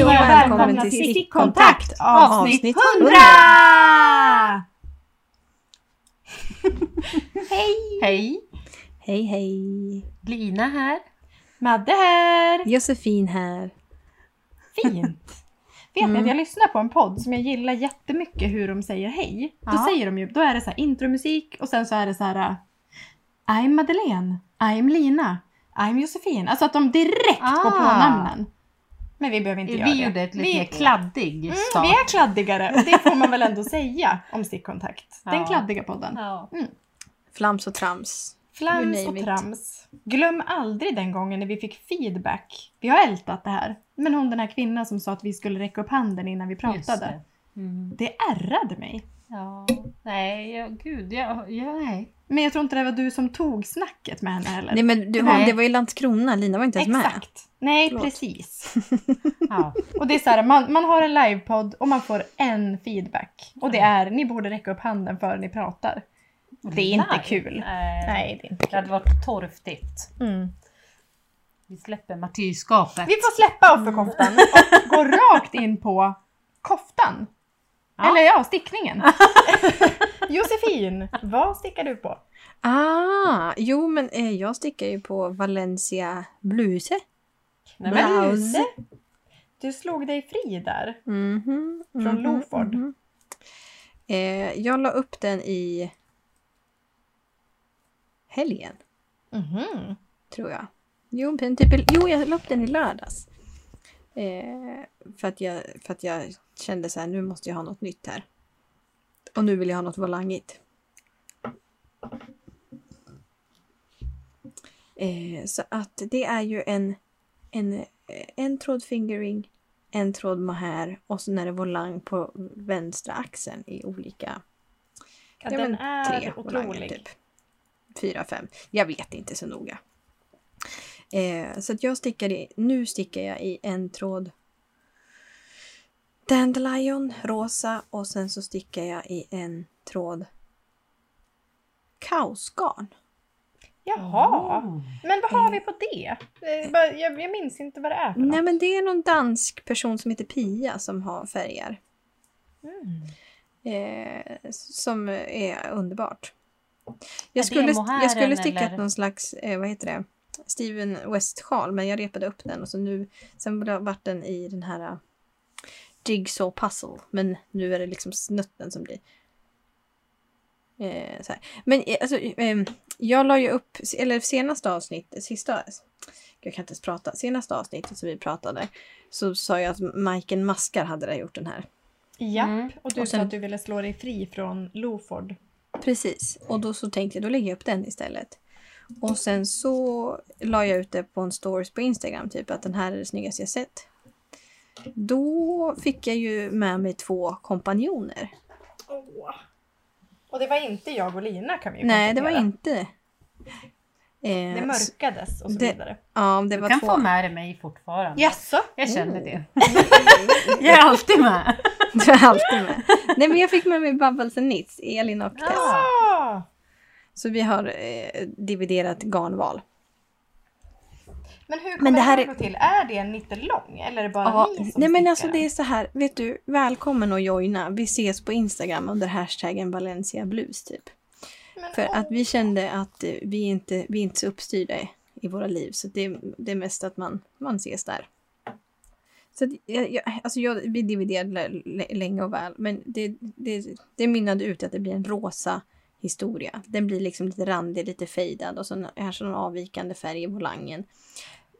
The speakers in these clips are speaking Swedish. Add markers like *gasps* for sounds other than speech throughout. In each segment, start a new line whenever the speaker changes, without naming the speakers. välkommen till Stickkontakt avsnitt 100!
Hej!
Hej!
Hej hej!
Lina här. Madde här.
Josefin här.
Fint! Vet ni
Mm.
att jag lyssnar på en podd som jag gillar jättemycket hur de säger hej. Då
Ja.
säger de ju, då är det så här intromusik och sen så är det så här äh, I'm Madeleine, I'm Lina, I'm Josefin. Alltså att de direkt går på
Ah.
namnen. Men vi behöver inte
Vi
göra det.
gjorde ett lite
Vi-
mer kladdig
Mm,
start.
vi är kladdigare och det får man väl ändå säga om stickkontakt. Den
Ja.
kladdiga podden.
ja.
Flams och trams. You
Flams
name
och
it.
trams. Glöm aldrig den gången när vi fick feedback. Vi har ältat det här. Men hon den här kvinnan som sa att vi skulle räcka upp handen innan vi
Just
pratade.
det. Mm.
Det ärrade mig.
Ja. Nej, jag, gud, jag, jag, nej.
Men jag tror inte det var du som tog snacket med henne heller.
Nej men du,
Nej.
det var ju Landskrona, Lina var inte ens med.
Exakt. Nej,
Förlåt.
precis.
Ja.
Och det är så här, man, man har en livepodd och man får en feedback. Och det är, ni borde räcka upp handen före ni pratar. Det är inte
Live.
kul.
Nej.
Nej, det är inte
Det
kul.
hade varit torftigt.
Mm.
Vi släpper martyrskapet.
Vi får släppa offerkoftan *laughs* och gå rakt in på koftan.
Ja.
Eller ja, *laughs* stickningen. Josefin, vad stickar du på?
Ah, jo men eh, jag stickar ju på Valencia bluse.
Nej,
men-
Bluse. Du slog dig fri där.
Mhm,
Från
mhm,
Loford.
mhm. Eh, jag la upp den i helgen,
Mhm.
tror jag. Jo, men typ, i- jo jag la upp den i lördags. Eh, för, att jag, för att jag kände så här, nu måste jag ha något nytt här. Och nu vill jag ha något volangigt. Eh, så att det är ju en, en, eh, en tråd fingering, en tråd mohair och sen är det volang på vänstra axeln i olika
Ja,
Ja,
den
men
är
tre volanger
otrolig.
typ. Fyra, fem. Jag vet inte så noga. Eh, så att jag stickar i, nu stickar jag i en tråd Dandelion, rosa och sen så stickar jag i en tråd kaosgarn.
Jaha.
Mm.
Men vad har vi på det? Eh, bara- Jag, jag minns inte vad det är för något.
Nej men det är någon dansk person som heter Pia som har färger.
Mm.
Eh, som är underbart.
Är det
Jag skulle,
mohairen
jag skulle sticka
eller?
någon slags, eh, vad heter det, Steven West-sjal men jag repade upp den och så nu, sen har det varit den i den här eh, Jigsaw puzzle men nu är det liksom snutten som blir. Eh, så här. Men eh, alltså, ehm, jag la ju upp, eller senaste avsnittet, sista, jag kan inte ens prata, senaste avsnittet som vi pratade så sa jag att Majken Maskar hade gjort den här.
Japp,
Mm.
och du
Och sen-
sa att du ville slå dig fri från Loford.
Precis, och då så tänkte jag då lägger jag upp den istället. Och sen så la jag ut det på en stories på Instagram, typ att den här är det snyggaste jag sett. Då fick jag ju med mig två kompanjoner.
Åh. Och det var inte jag och Lina kan vi ju
Nej, det var
konstatera.
inte... Eh,
Det
så-
mörkades och så
Det-
vidare.
Ja, det
Du
var
kan
två...
få
*laughs*
med dig mig fortfarande.
Jaså?
Jag känner
Mm.
det. jag är alltid med.
Du är alltid med. Nej, men jag fick med mig Bubbles and Knits, Elin och Tess.
Ja.
Ah.
Så vi har eh, dividerat garnval.
Men hur kommer
Men
det
det här är-
gå till? Är det en nittelång eller är det bara
Ja,
ni som
nej men
stickar
alltså
den?
det är så här, vet du, välkommen att joina. Vi ses på Instagram under hashtaggen Valencia Blues typ.
Men
För
åh.
att vi kände att eh, vi inte, vi är inte så uppstyrda i, i våra liv så det, det är mest att man, man ses där. Så att, jag, jag, alltså jag, vi dividerade l- l- länge och väl men det, det, det mynnade ut i att det blir en rosa historia. Den blir liksom lite randig, lite fejdad och så kanske någon avvikande färg i volangen.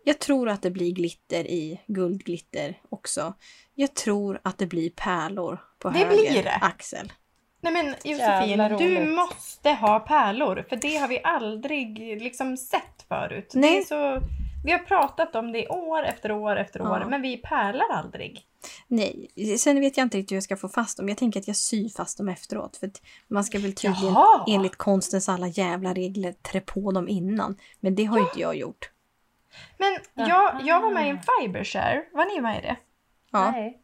Jag tror att det blir glitter i guldglitter också. Jag tror att det blir pärlor på
Det
höger
blir det.
axel.
Nej men
Jävla
Josefin, du
roligt.
måste ha pärlor för det har vi aldrig liksom sett förut. Det
Nej.
är så... Vi har pratat om det år efter år efter
Ja.
år men vi pärlar aldrig.
Nej, sen vet jag inte riktigt hur jag ska få fast dem. Jag tänker att jag syr fast dem efteråt. För att man ska väl tydligen
Jaha!
enligt konstens alla jävla regler trä på dem innan. Men det har ju inte jag gjort.
Men jag, jag var med i en Fibershare, var ni med i det?
Ja.
Nej.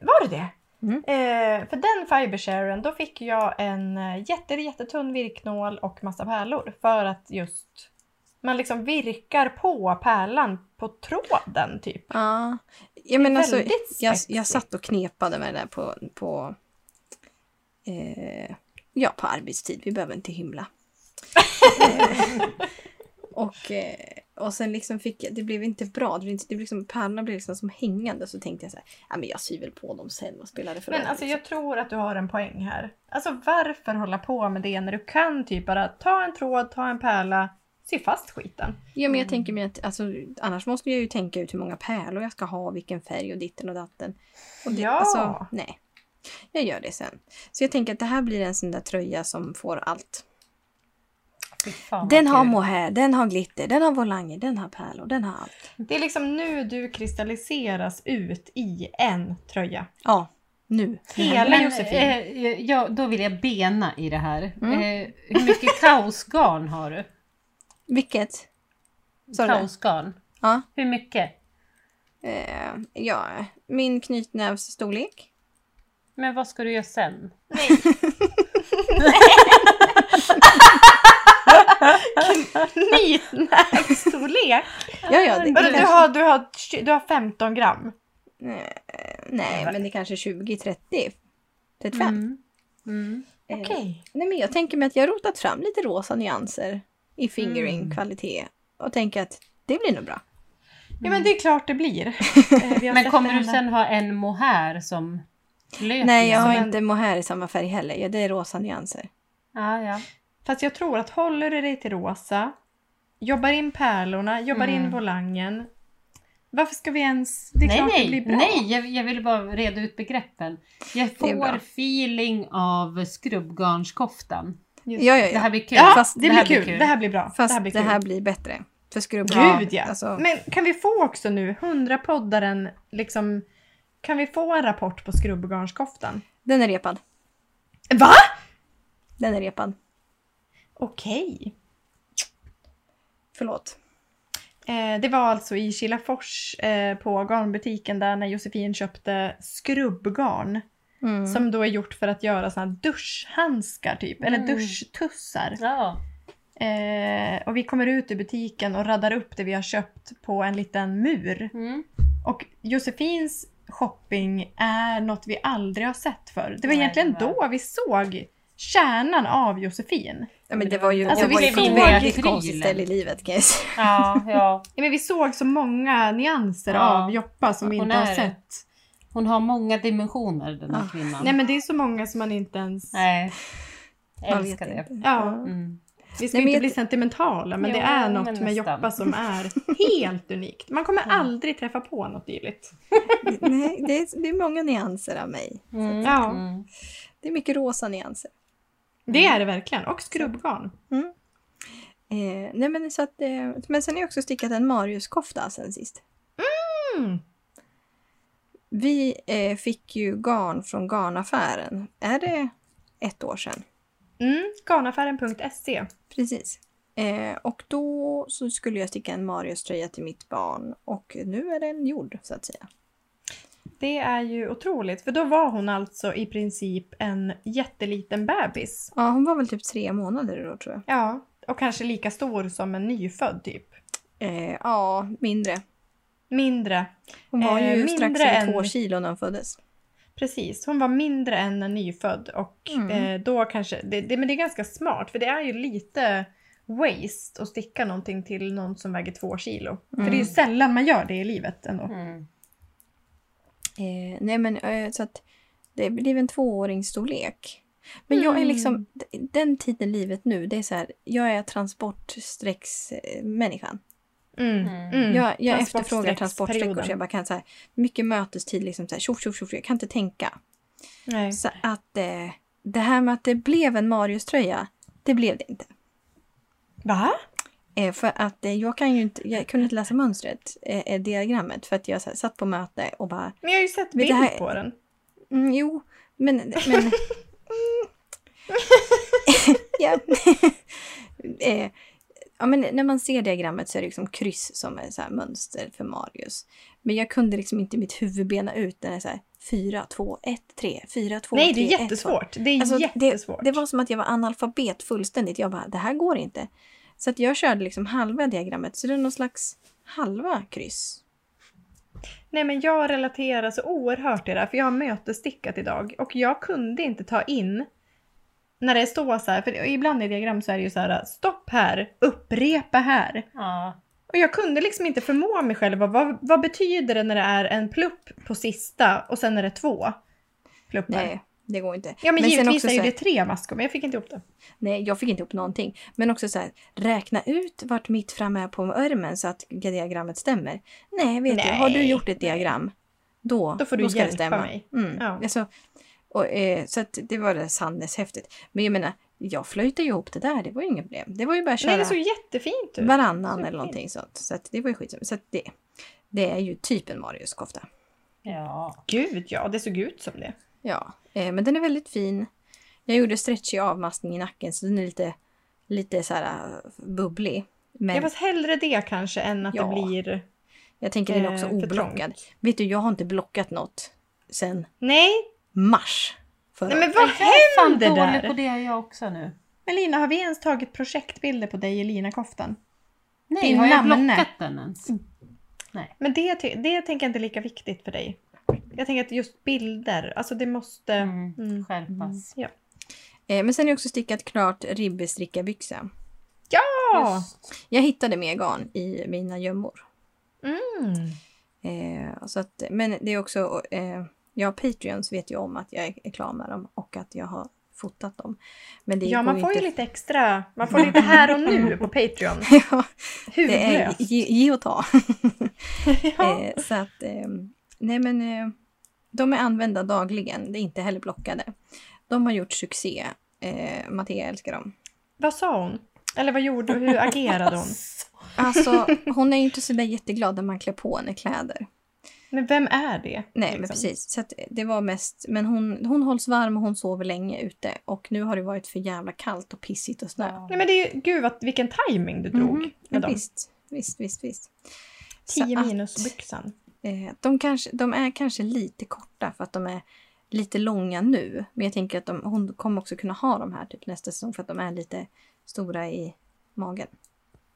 Var det det?
Mm.
Eh, för den fibersharen, då fick jag en eh, jätte, jättetunn virknål och massa pärlor för att just man liksom virkar på pärlan på tråden typ.
ja. Ja, men
Det är
alltså,
väldigt
jag, jag
spetsigt.
satt och knepade med det där på, på, eh, ja, på arbetstid. Vi behöver inte hymla. eh, och, eh, och sen liksom fick jag, det blev inte bra. Det blev inte, det blev liksom, pärlorna blev liksom som hängande. Så tänkte jag så här, ja men jag syr väl på dem sen. Vad spelar det för
Men
roll?
alltså
liksom?
jag tror att du har en poäng här. Alltså varför hålla på med det när du kan typ bara ta en tråd, ta en pärla, sy fast skiten.
Ja, men jag tänker mig att alltså, annars måste jag ju tänka ut hur många pärlor jag ska ha, vilken färg och ditten och datten. Och det,
Ja.
Alltså, nej. Jag gör det sen. Så jag tänker att det här blir en sån där tröja som får allt.
Fy fan, vad
Den har
kul.
mohair, den har glitter, den har volanger, den har pärlor, den har allt.
Det är liksom nu du kristalliseras ut i en tröja.
Ja, nu.
*laughs*
Hela
Men,
Josefin. *laughs*
eh, ja, då vill jag bena i det här.
Mm.
Eh, hur mycket kaosgarn har du?
Vilket? Sa du det?
Kaosgarn.
Ja.
Hur mycket?
Eh, ja, min knytnävsstorlek.
Men vad ska du göra sen?
Knytnävsstorlek!
Ja, ja, det, det
Vadå, Du
kanske-
har, du, har, tj- du har 15 gram.
Eh, nej, men det är kanske 20, 30, 35.
Mm. Mm.
Eh,
Okej.
Nej, men jag tänker mig att jag har rotat fram lite rosa nyanser i
Mm.
fingering-kvalitet och tänker att det blir nog bra.
Ja men det är klart det blir. Eh, *laughs* vi har
Men
sett
kommer
det
du
hända.
sen ha en mohair som löper?
Nej, jag har
men-
inte mohair i samma färg heller. Ja, det är rosa nyanser.
Ja, ja.
Fast jag tror att håller du dig till rosa, jobbar in pärlorna, jobbar in
Mm.
volangen. Varför ska vi ens... Det är
nej,
klart
nej,
det blir bra.
nej, jag, jag ville bara reda ut begreppen. Jag
är bra.
får feeling av skrubbgarnskoftan.
Just.
Ja, ja,
Det här
ja.
blir kul.
Ja,
Fast
det, blir kul. Det här blir bra.
Fast
det här blir kul.
bättre. För skrubb...
Gud ja!
Alltså,
Men kan vi få också nu, 100-poddaren, liksom... Kan vi få en rapport på skrubbgarnskoftan?
den är repad.
Va?
Den är repad.
Okej.
Förlåt.
Eh, det var alltså i Kilafors eh, på garnbutiken där när Josefin köpte skrubbgarn.
Mm.
Som då är gjort för att göra såna här duschhandskar typ, eller
Mm.
duschtussar.
Ja.
Eh, och vi kommer ut ur butiken och raddar upp det vi har köpt på en liten mur.
Mm.
Och Josefins shopping är något vi aldrig har sett förr. Det var
Nej,
egentligen
det var-
då vi såg kärnan av Josefin.
Ja, men det var ju,
Alltså,
jag
vi
var ju
blev
på ett
inbjudna
väldigt
till
konstigt
prylen.
ställe i livet, kan jag säga.
ja, ja.
Ja, men vi såg så många nyanser
Ja.
av Joppa som vi
Hon
inte har
är-
sett.
Hon har många dimensioner den här
Ja.
kvinnan.
Nej men det är så många som man inte ens...
Nej. Jag
Man
älskar
vet
det.
inte.
Ja,
Mm.
vi ska
Nej, men
inte
jag-
bli sentimentala men
Jo,
det är
men
något med
nästan.
Joppa som är helt unikt. Man kommer aldrig träffa på något dylikt.
Nej, det är, det är många nyanser av mig.
Mm.
Ja.
Mm.
Det är mycket rosa nyanser.
Det är det verkligen. Och skrubbgarn.
Eh, nej men så att, eh, men sen har jag också stickat en Marius-kofta sen sist.
Mm.
Vi eh, fick ju garn från garnaffären. Är det ett år sedan?
Mm. Garnaffären.se.
Precis. Eh, och då så skulle jag sticka en Marius-tröja till mitt barn och nu är den gjord så att säga.
Det är ju otroligt, för då var hon alltså i princip en jätteliten bebis.
Ja, hon var väl typ tre månader då tror jag.
Ja, och kanske lika stor som en nyfödd typ.
Eh, ja, mindre.
Mindre.
Hon var
Eh,
ju strax
mindre
över
än-
två kilo när hon föddes.
Precis, hon var mindre än en nyfödd och
Mm.
eh, då kanske... Det, det, men det är ganska smart, för det är ju lite waste att sticka någonting till någon som väger två kilo. För det är ju
Mm.
sällan man gör det i livet ändå.
Mm.
Eh, nej men eh, så att det blev en tvååringsstorlek. Men jag är
Mm.
liksom, d- den tiden i livet nu, det är så här, jag är transportsträcksmänniskan.
Mm.
Mm.
Mm.
Jag, jag
Transportsträcks-
efterfrågar transportsträckor
perioden.
så jag bara kan så här, mycket mötestid liksom så här, tjoff, tjoff, tjoff, jag kan inte tänka.
Nej.
Så att eh, det här med att det blev en Marius-tröja, det blev det inte.
Va?
Eh, för att eh, jag kan ju inte, jag kunde inte läsa mönstret, eh, eh, diagrammet, för att jag så här, satt på möte och bara
Men jag har ju sett
Men det
bild
här-
på den.
Mm, jo, men... men
*laughs*
*laughs* mm. ja. *laughs* eh, ja, men när man ser diagrammet så är det liksom kryss som är så här mönster för Marius. Men jag kunde liksom inte i mitt huvud bena ut den är så här 4, 2, 1, 3, 4, 2, 3,
Nej, det är
1, 2.
jättesvårt. Det är
Alltså, det-
jättesvårt.
Det var som att jag var analfabet fullständigt. Jag bara, det här går inte. Så att jag körde liksom halva diagrammet, så det är någon slags halva kryss.
Nej men jag relaterar så oerhört till det här för jag har mötesstickat idag och jag kunde inte ta in när det står så här, för ibland i diagram så är det ju så här stopp här, upprepa här.
Ja.
Och jag kunde liksom inte förmå mig själv, vad, vad betyder det när det är en plupp på sista och sen är det två pluppar?
Nej, det går inte.
Ja men,
sen
givetvis
också
är
så
ju
här-
det tre maskor men jag fick inte ihop det.
Nej, jag fick inte ihop någonting. Men också så här, räkna ut vart mitt fram är på örmen så att diagrammet stämmer. Nej, vet du, har du
Nej,
gjort ett
nej.
diagram, då,
Då får du
ska
hjälpa
det stämma.
mig.
Mm.
Ja.
Alltså, och, eh, så att det var det sannes häftigt. Men jag menar, jag flöjtade ju ihop det där, det var ju inget problem. Det var ju bara att
Nej det
köra
såg jättefint ut.
varannan
Superfint.
eller någonting sånt. Så att det var ju skitsamma. Så att det, det är ju typ en Marius-kofta.
Ja.
Gud ja, det såg ut som det.
Ja, eh, men den är väldigt fin. Jag gjorde stretchig avmaskning i nacken så den är lite, lite så här eh, bubblig. Men
Jag fast hellre det kanske än att
Ja.
det blir...
Jag tänker den är
Eh,
också
för
oblockad. Vet du, jag har inte blockat något sen
Nej,
mars. Förra.
nej men
Jag
vad
är fan
händer
dålig
där?
på det jag också nu.
Men Lina, har vi ens tagit projektbilder på dig i Lina-koftan?
Nej,
Din
har jag
namne.
blockat den ens?
Men det, ty- det tänker jag inte är lika viktigt för dig. Jag tänker att just bilder, alltså det måste...
Mm.
Mm.
Skärpas.
Ja.
Eh, men sen är jag också stickat klart ribbestickarbyxa.
Ja!
Jag hittade mer garn i mina gömmor.
Hmm.
Eh, så att, men det är också... Eh, jag Patreons vet ju om att jag är klar med dem och att jag har fotat dem. Men det
Ja,
går
man får ju
inte...
lite extra. Man får lite här och nu på Patreon.
*laughs* ja, det är *laughs*
Huvudlöst.
ge, ge och ta.
Ja.
Eh, så att, eh, nej men eh, de är använda dagligen, det är inte heller blockade. De har gjort succé. Eh, Mattia älskar dem.
Vad sa hon? Eller vad gjorde hon? Hur
*laughs*
agerade hon?
Alltså hon är ju inte så där jätteglad när man klär på henne kläder.
Men vem är det?
Nej men
liksom?
precis, så att eh, det var mest, men hon, hon hålls varm och hon sover länge ute. Och nu har det varit för jävla kallt och pissigt och snö.
Ja.
Nej men det är ju, gud vad, vilken timing du drog
Mhm,
med
men
dem.
visst, visst, visst, visst. Så
10
att-
minus byxan.
Eh, de, kanske, de är kanske lite korta för att de är lite långa nu. Men jag tänker att de, hon kommer också kunna ha de här typ nästa säsong för att de är lite stora i magen.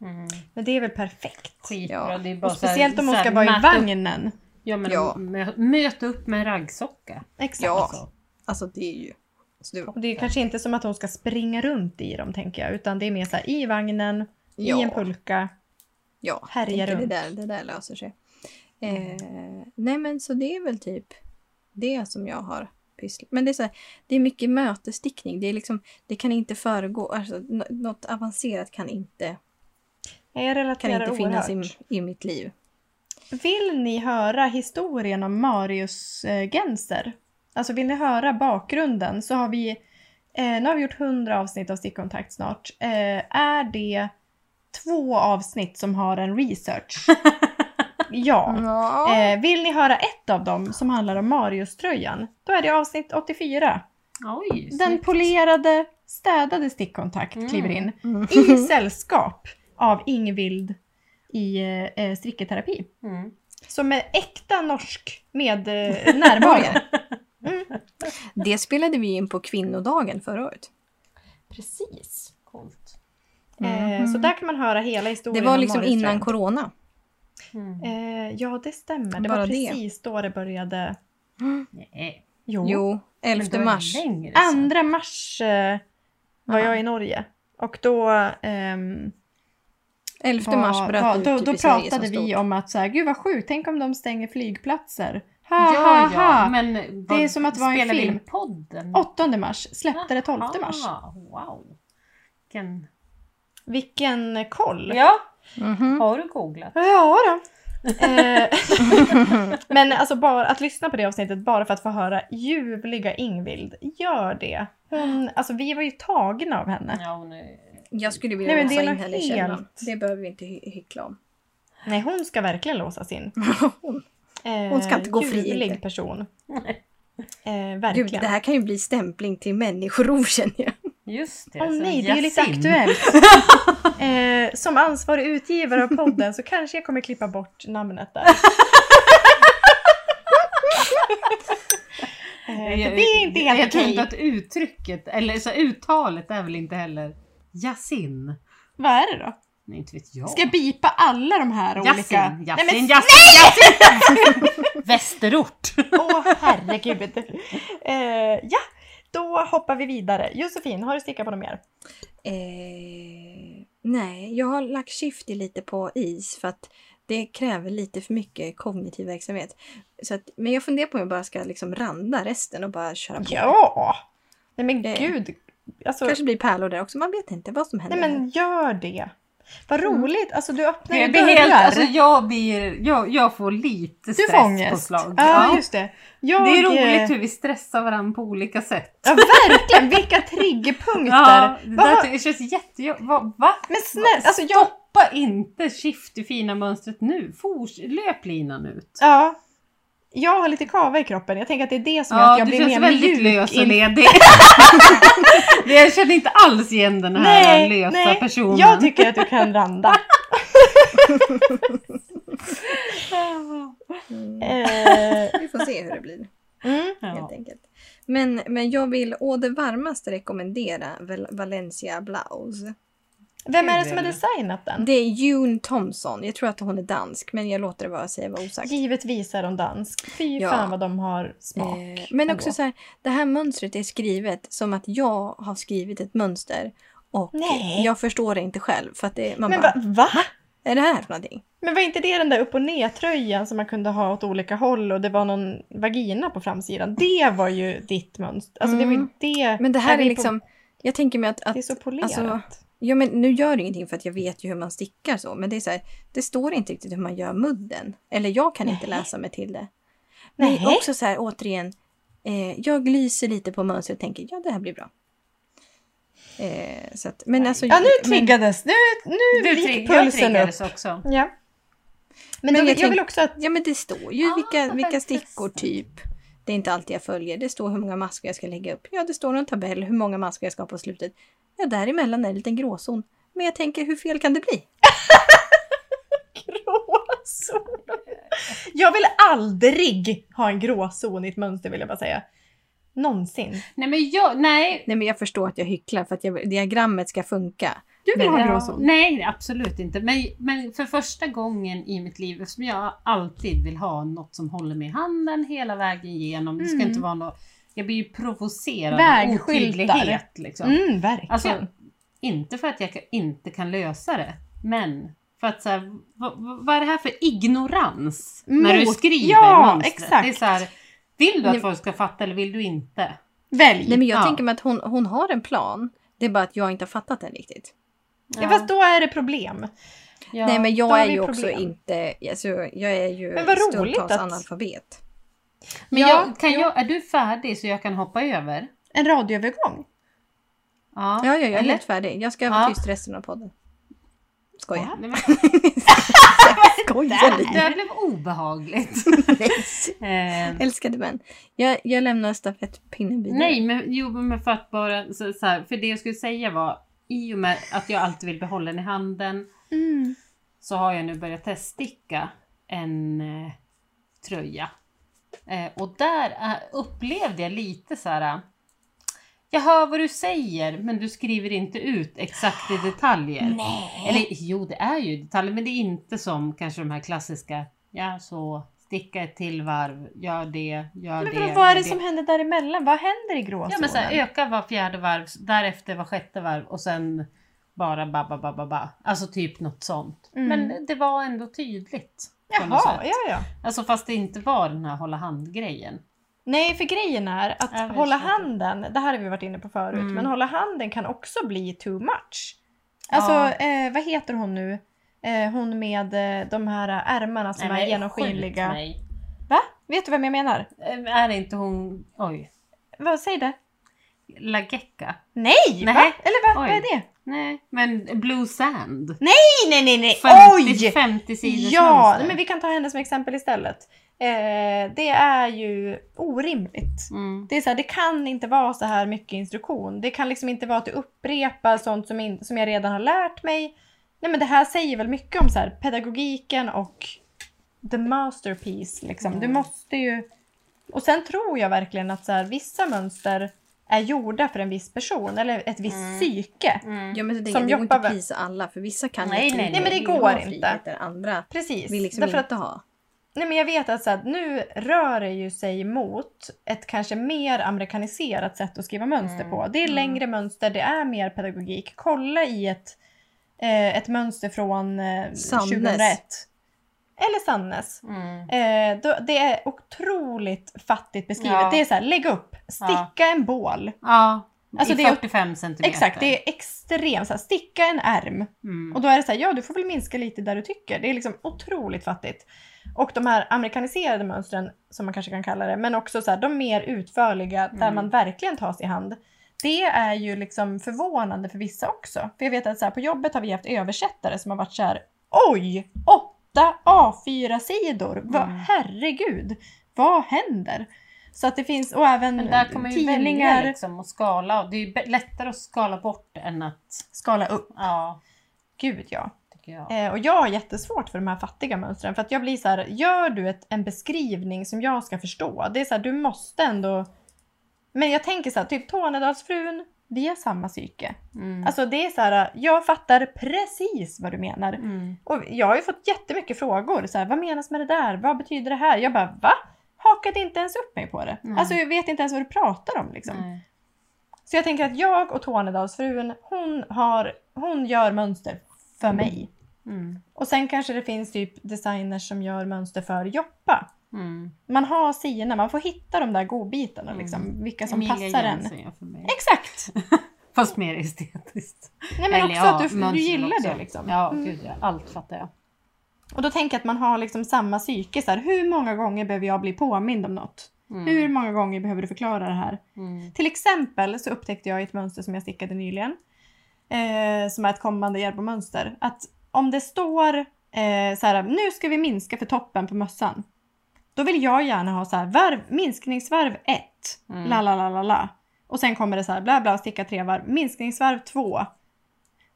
Mm.
Men det är väl perfekt?
Skitbra.
Ja.
Det är bara
Och
så här-
speciellt om hon
så här
ska vara i
möta Upp,
vagnen.
ja, men
Ja.
mö- möt upp med en raggsocka.
Exakt.
Ja.
Alltså.
Alltså det är ju... Så det,
Och det är kanske inte som att hon ska springa runt i dem tänker jag, utan det är mer så här i vagnen, i en pulka.
ja, tänker
härja
det
runt. Mm.
där, det där löser sig. Eh, nej men så det är väl typ det som jag har pysslat Men det är, så här, det är mycket mötesstickning. Det, är liksom, det kan inte föregå, alltså, nå- något avancerat kan inte,
Ja, Jag
kan
relaterar
inte finnas i,
oerhört.
i mitt liv.
Vill ni höra historien om Marius eh, Genser? Alltså vill ni höra bakgrunden så har vi, eh, nu har vi gjort 100 avsnitt av Stickkontakt snart. Eh, är det två avsnitt som har en research? ja.
Ja.
Eh, vill ni höra ett av dem som handlar om Marius-tröjan? Då är det avsnitt 84.
Oj,
Den
snyggt.
polerade, städade stickkontakt
Mm.
kliver in
Mm.
i sällskap av Ingvild i eh, stricketerapi.
Mm.
Som är äkta norsk med eh,
*laughs*
*laughs* närvaro.
Mm. Det spelade vi in på kvinnodagen förra året.
Precis. Coolt.
eh, så där kan man höra hela
Mm. Det
historien
var
om
liksom
Marius
innan
tröjan.
corona.
Mm.
Eh, ja, det stämmer. Det
Bara
var
det.
precis då det började.
Nej.
Jo.
Jo,
men
11
det var
mars.
längre sedan.
Andra mars eh, var
Ja.
jag i Norge. Och då... ehm,
11
var-
mars bröt
var,
ut
Då,
typ
då
i Sverige
pratade
som
vi
stort.
om att så här, gud vad sjukt, tänk om de stänger flygplatser. Ha, ha,
Ja,
ha.
ja, men vad-
är som att vara i en
spelar vi
film.
in podden?
8 mars, släppte det 12 mars.
Ah.
Aha, Wow. Vilken...
Vilken koll!
Ja,
*laughs* Mm.
Mhm.
har du googlat?
Ja då.
*laughs*
Eh, Men alltså bara att lyssna på det avsnittet bara för att få höra ljuvliga Ingvild. Gör det! Hon, alltså vi var ju tagna av henne.
Ja, hon är...
Jag skulle vilja
Nej, men det
låsa
är
in
något
henne i källaren.
helt-
Det behöver vi inte hy- hyckla om.
Nej, hon ska verkligen låsas in. Eh,
Hon ska inte gå fri,
Ljuvlig
inte. *laughs*
person.
Nej.
Eh,
Gud,
verkligen.
det här kan ju bli stämpling till människorov *laughs* känner jag.
Just det.
Åh
så
nej, det är ju lite
Yasin.
aktuellt.
*laughs*
eh, som ansvarig utgivare av podden så kanske jag kommer klippa bort namnet
*laughs*
där. eh, för det är inte helt
Jag tror
okej.
inte att uttrycket, eller så uttalet är väl inte heller Yasin.
Vad är det då?
Nej, inte vet jag.
Ska jag bipa alla de här olika?
Yasin,
Nej, men
Yasin, Yasin, Yasin! *laughs* Västerort!
Åh herregud. Eh, ja, då hoppar vi vidare. Josefin, har du stickat på något mer?
Eh, nej, jag har lagt Shifty lite på is för att det kräver lite för mycket kognitiv verksamhet. Så att, men jag funderar på om jag bara ska liksom randa resten och bara köra på.
Ja! Nej men
Eh,
gud. Alltså,
Kanske blir pärlor där också, man vet inte vad som händer.
nej men gör det. Vad
Mm.
roligt, alltså du öppnar ju
Jag,
dörrar.
blir helt, alltså, jag, blir, jag, jag får lite
du får ångest.
stresspåslag.
Ja,
Ja.
just det. Jag,
Det är
eh,
roligt hur vi stressar varandra på olika sätt.
Ja, verkligen. Vilka triggerpunkter.
Ja, det
Vad-
där ty- det känns jättejobbigt. Va? va?
Men snälla, alltså jag...
Stoppa inte skift det fina mönstret nu. Fors, löp linan ut.
Ja. Jag har lite kava i kroppen. Jag tänker att det är det som gör att
Ja,
jag
du
blir
känns
mer
väldigt
mjuk.
lös och
in- *laughs*
ledig. Det- jag känner inte alls igen den här
Nej,
lösa
nej.
personen.
Jag tycker att du kan randa.
Mm.
Eh,
Vi får se hur det
*laughs*
blir.
mm.
ja.
helt enkelt. Men, men jag vill å det varmaste rekommendera Val- Valencia Blouse.
Vem är det
Kul,
som har
eller?
designat den?
Det är June Thompson. Jag tror att hon är dansk, men jag låter det vara säga vara osagt.
Givetvis är de dansk. Fy
Ja.
fan vad de har smak.
Eh, men också
ändå.
så här, det här mönstret är skrivet som att jag har skrivit ett mönster och
Nej.
jag förstår det inte själv. För att det, man
Men
bara,
va, va?
är det här för någonting?
Men var inte det den där upp och ner-tröjan som man kunde ha åt olika håll och det var någon vagina på framsidan? Det var ju ditt mönster. Alltså det var ju
Mm.
det.
Men det här
vi
är
på-
liksom, jag tänker mig att, att
Det är så polerat.
alltså, ja, men nu gör det ingenting för att jag vet ju hur man stickar så, men det är så här, det står inte riktigt hur man gör mudden. Eller jag kan inte
Nej.
läsa mig till det.
Nej.
Men också så här återigen, eh, jag lyser lite på mönstret och tänker ja det här blir bra. Eh, så att, men alltså,
Ja, nu
men-
triggades. Nu, nu
Du,
gick
trigg- jag
pulsen upp.
triggades också.
Ja. Men,
Men
då,
jag
jag,
tänk-
vill också att...
Ja men det står ju
Ah,
vilka,
vad
vilka
intressant.
stickor typ. Det är inte alltid jag följer. Det står hur många maskor jag ska lägga upp. Ja det står någon tabell hur många maskor jag ska ha på slutet. Ja däremellan är det en liten gråzon. Men jag tänker hur fel kan det bli?
*laughs* Gråzon. Jag vill aldrig ha en gråzon i ett mönster vill jag bara säga. Någonsin.
Nej, men jag, nej,
Nej men jag förstår att jag hycklar för att jag, diagrammet ska funka.
Du vill
Men-
ha en
Ja,
gråzon?
Nej, absolut inte. Men, men för första gången i mitt liv, eftersom jag alltid vill ha något som håller mig i handen hela vägen igenom. Det ska
Mm.
inte vara något... Jag blir ju provocerad av
Vägskyltar.
otydlighet. Liksom.
Mm, verkligen.
Alltså, inte för att jag ka- inte kan lösa det, men för att så här, vad, vad- vad är det här för ignorans när du
Mot-
skriver
ja,
mönstret? Det är
exakt.
så här, vill du
Nej.
att folk ska fatta eller vill du inte?
Välj.
Nej men jag
Ja.
tänker mig att hon, hon har en plan. Det är bara att jag inte har fattat den riktigt.
ja. Fast då är det problem.
ja.
Nej men
då
jag
har
är
vi
ju också
problem.
inte, alltså, jag är ju
Men vad roligt
stundtals
att-
analfabet.
men
Ja,
jag, kan
jo.
jag, är du färdig så jag kan hoppa över?
En radioövergång.
Ja,
Ja, ja, jag är
eller?
helt färdig. Jag ska vara
Ja.
tyst resten av podden. Skoja.
Nej, men-
Skoja
Det här blev obehagligt.
*laughs*
eh,
Älskade män. Jag, jag lämnar stafettpinnen vidare.
nej, men, jo, men för att bara så, så här, för det jag skulle säga var i och med att jag alltid vill behålla den i handen Mm. så har jag nu börjat teststicka en eh, tröja. Eh, och där eh, upplevde jag lite så här. Jag hör vad du säger men du skriver inte ut exakt
*gasps*
i detaljer.
Nej.
Eller jo, det är ju detaljer, men det är inte som kanske de här klassiska. Ja, så sticka ett till varv, gör det, gör
Men
det.
vadå, vad
gör
är det som händer däremellan? Vad händer i gråzonen?
Ja, men så här, öka var fjärde varv, därefter var sjätte varv och sen bara ba, ba, ba, ba, ba. Alltså typ något sånt.
Mm.
Men det var ändå tydligt. på något
Jaha,
sätt.
ja, ja.
Alltså fast det inte var den här hålla hand-grejen.
Nej, för grejen är att
Ja, visst,
hålla
jag tror.
handen, det här har vi varit inne på förut,
Mm.
men hålla handen kan också bli too much. Alltså,
Ja.
eh, vad heter hon nu? Eh, hon med eh, de här eh, ärmarna som
Nej,
är
men skjut
genomskinliga.
mig.
Va? Vet du vem jag menar?
Eh, Är det inte hon, oj,
Vad säger det?
Lagecka?
Nej! Va?
Nej.
Eller va?
Oj.
vad är det?
Nej, men Blue Sand.
Nej, nej, nej, nej!
50,
Oj!
50 sidors
Ja,
mönster.
nej, men vi kan ta henne som exempel istället. Eh, det är ju orimligt.
Mm.
Det är så här, det kan inte vara så här mycket instruktion. Det kan liksom inte vara att du upprepar sånt som, in, som jag redan har lärt mig. Nej men det här säger väl mycket om så här, pedagogiken och the masterpiece liksom. Du
Mm.
måste ju... Och sen tror jag verkligen att så här, vissa mönster är gjorda för en viss person eller ett visst
Mm.
psyke.
Mm.
Ja, men så tänker
Som
jag, det går inte
jobbar-
att pleasa alla för vissa kan
Nej, nej, nej.
Nej, men det
vill ha
går
frihet
inte.
där andra
Precis.
vill liksom
Därför att
inte ha.
Nej men jag vet att så här, nu rör det ju sig mot ett kanske mer amerikaniserat sätt att skriva mönster
Mm,
på. Det är
mm.
längre mönster, det är mer pedagogik. Kolla i ett, eh, ett mönster från eh,
Sannes.
2001. Eller Sannes.
Mm.
Eh, då, det är otroligt fattigt beskrivet.
Ja.
Det är så här, lägg upp, sticka en bål.
Ja,
Alltså,
i
det är-
45 centimeter.
Exakt, det är extremt så här, sticka en ärm.
Mm.
Och då är det så här, ja du får väl minska lite där du tycker. Det är liksom otroligt fattigt. Och de här amerikaniserade mönstren, som man kanske kan kalla det, men också så här, de mer utförliga, där
Mm.
man verkligen tas i hand. Det är ju liksom förvånande för vissa också. För jag vet att så här, på jobbet har vi haft översättare som har varit så här, oj! Åtta A4-sidor! Vad,
Mm.
Herregud! Vad händer? Så att det finns, och även
Men där kan man ju
tidningar,
välja Mm. liksom och skala. och Det är ju be- lättare att skala bort än att...
skala upp.
Ja,
Gud ja.
tycker jag.
Eh, och jag har jättesvårt för de här fattiga mönstren. För att jag blir så här, gör du ett, en beskrivning som jag ska förstå? Det är så här, du måste ändå... Men jag tänker så här, typ Tornedalsfrun, vi har samma psyke.
Mm.
Alltså det är så här, jag fattar precis vad du menar.
Mm.
Och jag har ju fått jättemycket frågor. Så här, vad menas med det där? Vad betyder det här? Jag bara, va? Hakade inte ens upp mig på det.
Nej.
Alltså jag vet inte ens vad du pratar om liksom.
Nej.
Så jag tänker att jag och Tornedalsfrun, hon, har, hon gör mönster för mig.
Mm.
Och sen kanske det finns typ designers som gör mönster för Joppa.
Mm.
Man har sina, man får hitta de där godbitarna
Mm.
liksom, vilka som
Emilia
passar en.
Jensen gör för mig.
Exakt!
Fast mer estetiskt.
Nej men
Eller
också
ja,
att du, du
mönstren
gillar
också.
det liksom.
Ja, typ.
Mm.
gud ja. Allt fattar jag.
Och då tänker jag att man har liksom samma psyke så här, hur många gånger behöver jag bli påmind om något?
Mm.
Hur många gånger behöver du förklara det här?
Mm.
Till exempel så upptäckte jag i ett mönster som jag stickade nyligen, eh, som är ett kommande Järbo-mönster, att om det står eh, så här, nu ska vi minska för toppen på mössan. Då vill jag gärna ha så här, varv, minskningsvarv 1,
Mm.
la la la la la. Och sen kommer det så här, bla bla, sticka tre varv, minskningsvarv 2.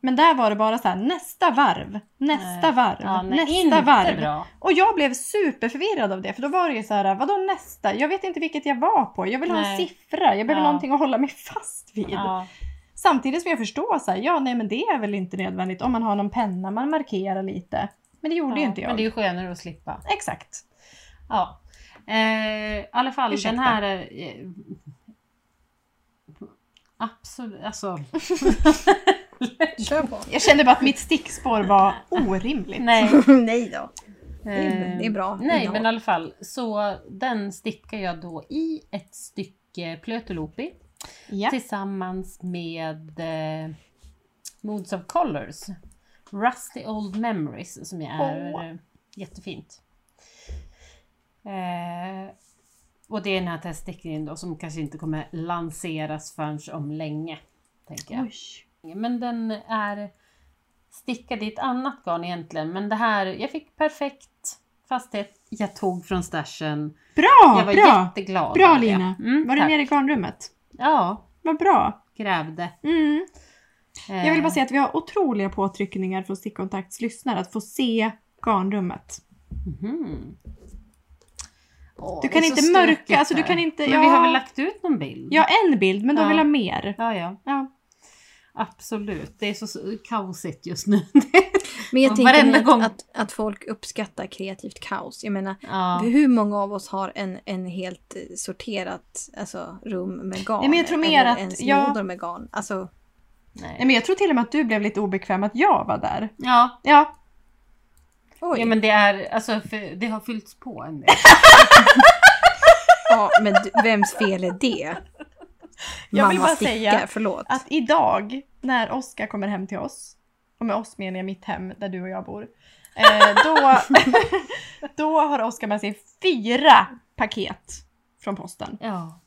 Men där var det bara så här, nästa varv, nästa
Nej.
varv,
Ja, nej,
nästa
inte
varv.
bra.
Och jag blev superförvirrad av det för då var det ju så här, vadå nästa? Jag vet inte vilket jag var på. Jag vill ha en
Nej.
siffra, jag behöver
Ja.
någonting att hålla mig fast vid.
Ja.
Samtidigt som jag förstår så här, ja nej men det är väl inte nödvändigt om man har någon penna, man markerar lite. Men det gjorde ju
Ja,
inte jag.
Men det är ju skönare att slippa.
Exakt.
Ja. Eh, I alla fall
Ursäkta.
den här... Eh, absolut, alltså...
Kör på.
Jag kände bara att mitt stickspår var orimligt. *laughs*
Nej.
*laughs* nej då. är- det är bra
Eh, Nej,
innehåll.
men i alla fall. Så den stickar jag då i ett stycke plötelopi Typ.
Ja.
tillsammans med eh, Moods of Colors. Rusty Old Memories som ju är
Åh.
eh, jättefint. Eh, och det är den här teststickningen då som kanske inte kommer lanseras förrän om länge. Tänker jag.
Oj.
Men den är stickad i ett annat garn egentligen. Men det här, jag fick perfekt fasthet. Jag tog från stashen.
Bra,
jag var
bra!
jätteglad.
Bra
över det.
Lina!
Mm,
var du
tack.
nere i garnrummet?
Ja,
Vad bra!
grävde.
Mm. Jag vill bara
Eh,
säga att vi har otroliga påtryckningar från Stickkontakts lyssnare att få se garnrummet.
mhm. Åh,
Du
det
kan
är
inte
så
mörka,
stökigt
alltså du
här.
kan inte-
Men
ja.
vi har väl lagt ut någon bild?
Ja, en bild, men de
Ja.
vill ha mer.
ja, ja.
Ja.
Absolut. Det är så, så kaosigt just
*laughs*
nu.
Men jag
Och
tänker
varenda
mig att,
gång.
att, att folk uppskattar kreativt kaos. Jag menar,
ja.
hur många av oss har en, en helt eh, sorterat alltså, rum med garn?
Ja, men jag tror mer
eller
att-
ens
ja.
lådor med garn. Alltså,
Nej,
Nej.
men jag tror till och med att du blev lite obekväm att jag var där.
Ja.
Ja,
oj.
ja, men det är, alltså för, det har fyllts på en del.
Ja, men du- vems fel är det?
*laughs* Jag vill
Mamma
bara
stickar,
säga
förlåt.
att idag när Oskar kommer hem till oss, och med oss menar jag mitt hem där du och jag bor, eh, då, *laughs* då har Oskar med sig fyra paket från posten.
Ja.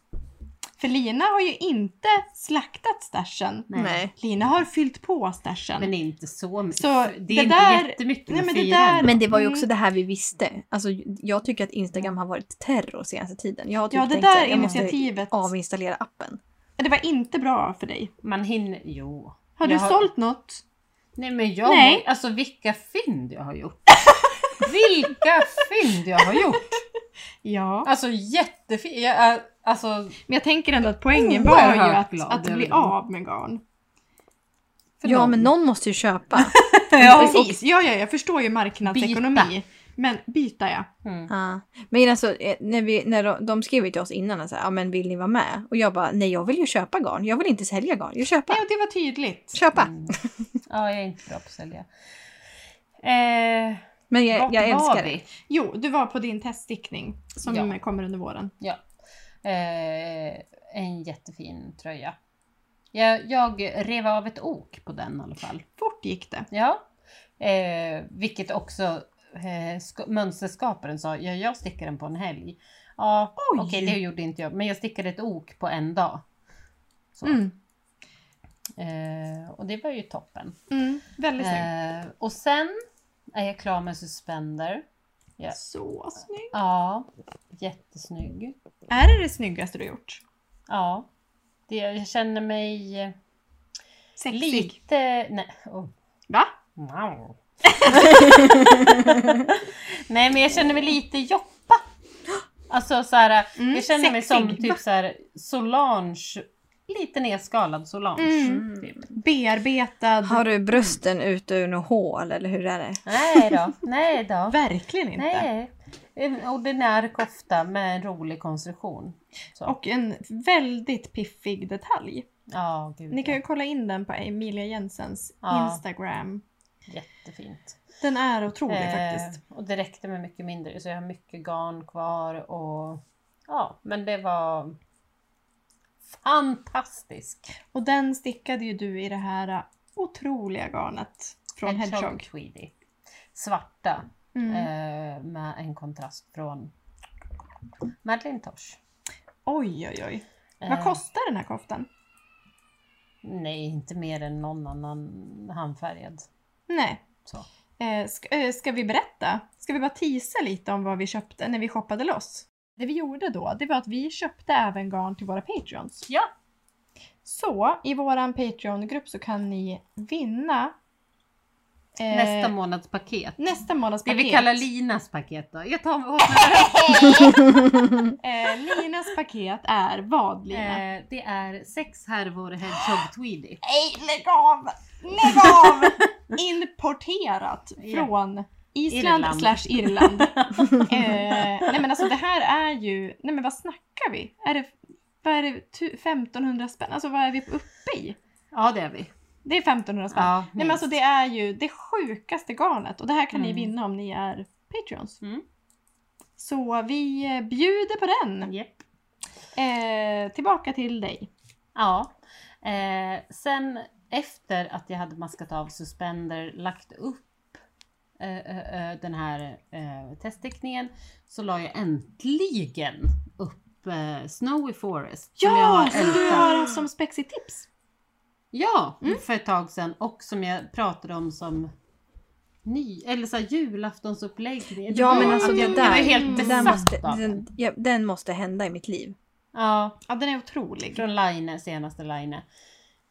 För Lina har ju inte slaktat stashen.
Nej.
Nej.
Lina har fyllt på stashen.
Men det är inte så mycket.
Så
det är
det
inte
där-
jättemycket
Nej,
med men
men det
fyra.
där-
ändå.
Men det var ju också
Mm.
det här vi visste. Alltså, jag tycker att Instagram har varit terror senaste tiden. Jag har typ
ja, det
tänkt så
där
här, jag måste
initiativet.
avinstallera appen.
Det var inte bra för dig.
Man hinner... Jo.
Har du
Jag
sålt något?
Nej men jag...
Nej.
Alltså vilka fynd jag har
*laughs*
gjort. vilka fynd jag har gjort.
Ja.
Alltså jättefint. Jag är Alltså,
Men jag tänker ändå att poängen var ju
Oerhört
att,
Oh, glad
att
över
bli
den.
av med garn.
för
Ja,
någon.
men någon måste ju köpa.
Ja,
ja,
precis. Ja, ja, jag förstår ju marknadsekonomi.
Byta.
Men byta ja.
Mm.
Ja. Men alltså, eh, när, vi, när de, de skrev ju till oss innan att så här, ja men vill ni vara med? Och jag bara, nej jag vill ju köpa garn. Jag vill inte sälja garn. Jag köpa.
Nej, och det var tydligt.
Köpa.
Mm. Ja, jag är inte bra på att sälja. Eh,
Men jag,
vart
jag
var
älskar
vi?
det.
Jo, du var på din teststickning som
Ja.
kommer under våren.
Ja. Eh, en jättefin tröja. Jag, jag rev av ett ok på den i alla fall.
Fort gick det.
Ja. Eh, vilket också eh, sk- mönsterskaparen sa, ja, jag stickar den på en helg. Ja,
Oj.
okej det gjorde inte jag, men jag stickade ett ok på en dag. Så.
Mm.
Eh, och det var ju toppen.
Mm. Väldigt snyggt.
Eh, och sen är jag klar med suspender. Eh.
Så snyggt.
Ja, jättesnygg.
Är det det snyggaste du gjort?
Ja, det, jag känner mig eh,
Sexig.
lite... Nej, oh.
Va?
wow. *laughs* nej, men jag känner mig lite joppa. Alltså så här,
Mm,
jag känner mig som
sexig.
typ så här, Solange, lite nedskalad Solange.
Mm.
Typ.
Bearbetad.
Har du brösten ut ur något hål eller hur är det?
Nej då, nej
*laughs*
då.
Verkligen inte.
Nej. En ordinär kofta med en rolig konstruktion. Så.
Och en väldigt piffig detalj.
ja, gud,
Ni kan
ja.
ju kolla in den på Emilia Jensens
Ja.
Instagram.
Jättefint.
Den är otrolig faktiskt.
Eh, och det räckte med mycket mindre så jag har mycket garn kvar och ja, men det var fantastisk.
Och den stickade ju du i det här eh, otroliga garnet från Hedgehog.
Tweedy. Svarta
Mm.
eh, med en kontrast från Madeleine Tosh.
Oj, oj, oj. Vad
Eh,
kostar den här koftan?
Nej, inte mer än någon annan handfärgad.
Nej.
Så.
Eh, ska, eh, ska vi berätta? Ska vi bara tisa lite om vad vi köpte när vi shoppade loss? Det vi gjorde då, det var att vi köpte även garn till våra patreons.
Ja!
Så i våran Patreon-grupp så kan ni vinna eh,
Nästa månads paket.
nästa månads
Det
paket.
vi kallar Linas paket då. Jag tar hoppar-
eh, Linas paket är vad Lina?
eh, Det är sex härvor Hedgehog *laughs* Tweedy.
Nej, lägg av! Lägg av! Importerat
Ja.
från Island
Irland.
slash Irland. eh, nej men alltså det här är ju, nej men vad snackar vi? Är det, vad är det, tu- 1500 spänn? Alltså vad är vi uppe i?
Ja, det är vi.
Det är 1500 spänn.
Ja,
Nej men alltså det är ju det sjukaste garnet och det här kan ni
Mm.
vinna om ni är Patreons.
Mm.
Så vi eh, bjuder på den!
Japp.
Eh, tillbaka till dig.
Ja. Eh, sen efter att jag hade maskat av suspender, lagt upp eh, eh, eh, den här eh, testteckningen så la jag äntligen upp eh, Snowy Forest. som jag
Ja!
har
Som du
ältat.
har haft som spexigt tips.
Ja,
Mm.
för ett tag sedan och som jag pratade om som ny, eller så här, julaftonsuppläggning. Det
Ja
var-
men alltså
att
det
jag,
där.
Jag var helt
det
det
där
besatt
måste,
av den.
den, ja, den måste hända i mitt liv.
Ja,
Ja den är otrolig.
från Line, senaste Line.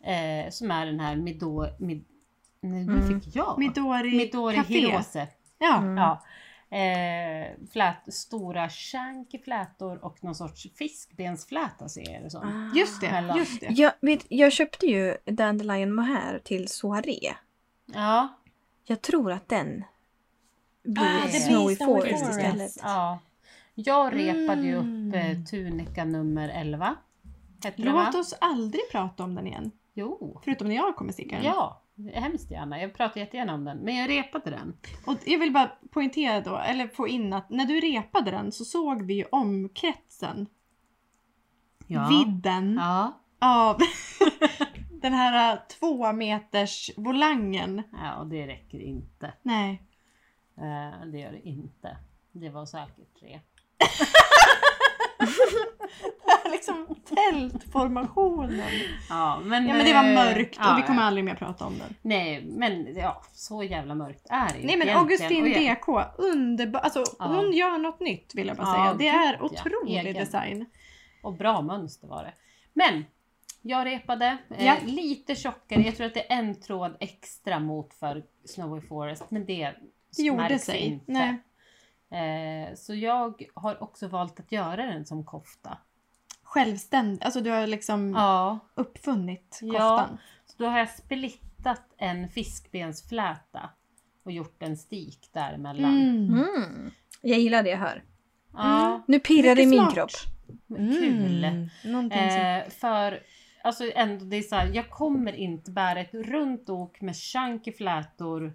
Eh, som är den här Mido... Mid, nej, nu
Mm.
fick jag.
Midori,
Midori
Café.
Hirose.
Ja.
Mm.
Ja. Eh, flät, stora shanky flätor och någon sorts fiskbensfläta ser jag det som.
Just det,
Mellan.
just det.
Jag, vet, jag köpte ju Dandelion Mohair till soaré.
Ja.
Jag tror att den blir
Ah, det blir
Snowy
Snowy
Forest
Forest.
istället.
Eh, Ja. Jag repade ju upp eh,
Mm.
tunika nummer 11. Hette den, va?
Låt oss aldrig prata om den igen.
Jo.
Förutom när jag kommer sticka den.
Ja, hemskt gärna. Jag pratar jättegärna om den. Men jag repade den.
Och jag vill bara poängtera då, eller få in att när du repade den så såg vi ju omkretsen, vidden.
Ja.
av *laughs* den här eh, två meters volangen.
ja, och det räcker inte.
Nej.
Eh, det gör det inte. Det var säkert tre.
*laughs* liksom tältformationen.
Ja men,
Ja men det var
eh,
mörkt
ja,
och vi kommer
ja.
aldrig mer prata om den.
Nej men ja, så jävla mörkt är det ju
Nej men
egentligen.
Augustin
Och jag-
DK, underbar. Alltså
Ja.
hon gör något nytt vill jag bara
Ja,
säga. Det
gud,
är
ja.
otrolig
Egen.
design.
Och bra mönster var det. Men! Jag repade eh,
Ja.
lite tjockare. Jag tror att det är en tråd extra mot för Snowy Forest men det
Det gjorde
märks
sig.
inte.
Nej.
Eh, så jag har också valt att göra den som kofta.
självständig, alltså du har liksom
Ja.
uppfunnit
Ja.
koftan.
Så då har jag splittat en fiskbensfläta och gjort en stik däremellan.
Mm.
Mm. Jag gillar det jag hör.
Ja,
Nu pirrar det i
Mycket
min
smart.
kropp.
kul.
Mm. Någonting som...
Eh, för alltså ändå, det är så här, jag kommer inte bära ett runt ok med chunky flätor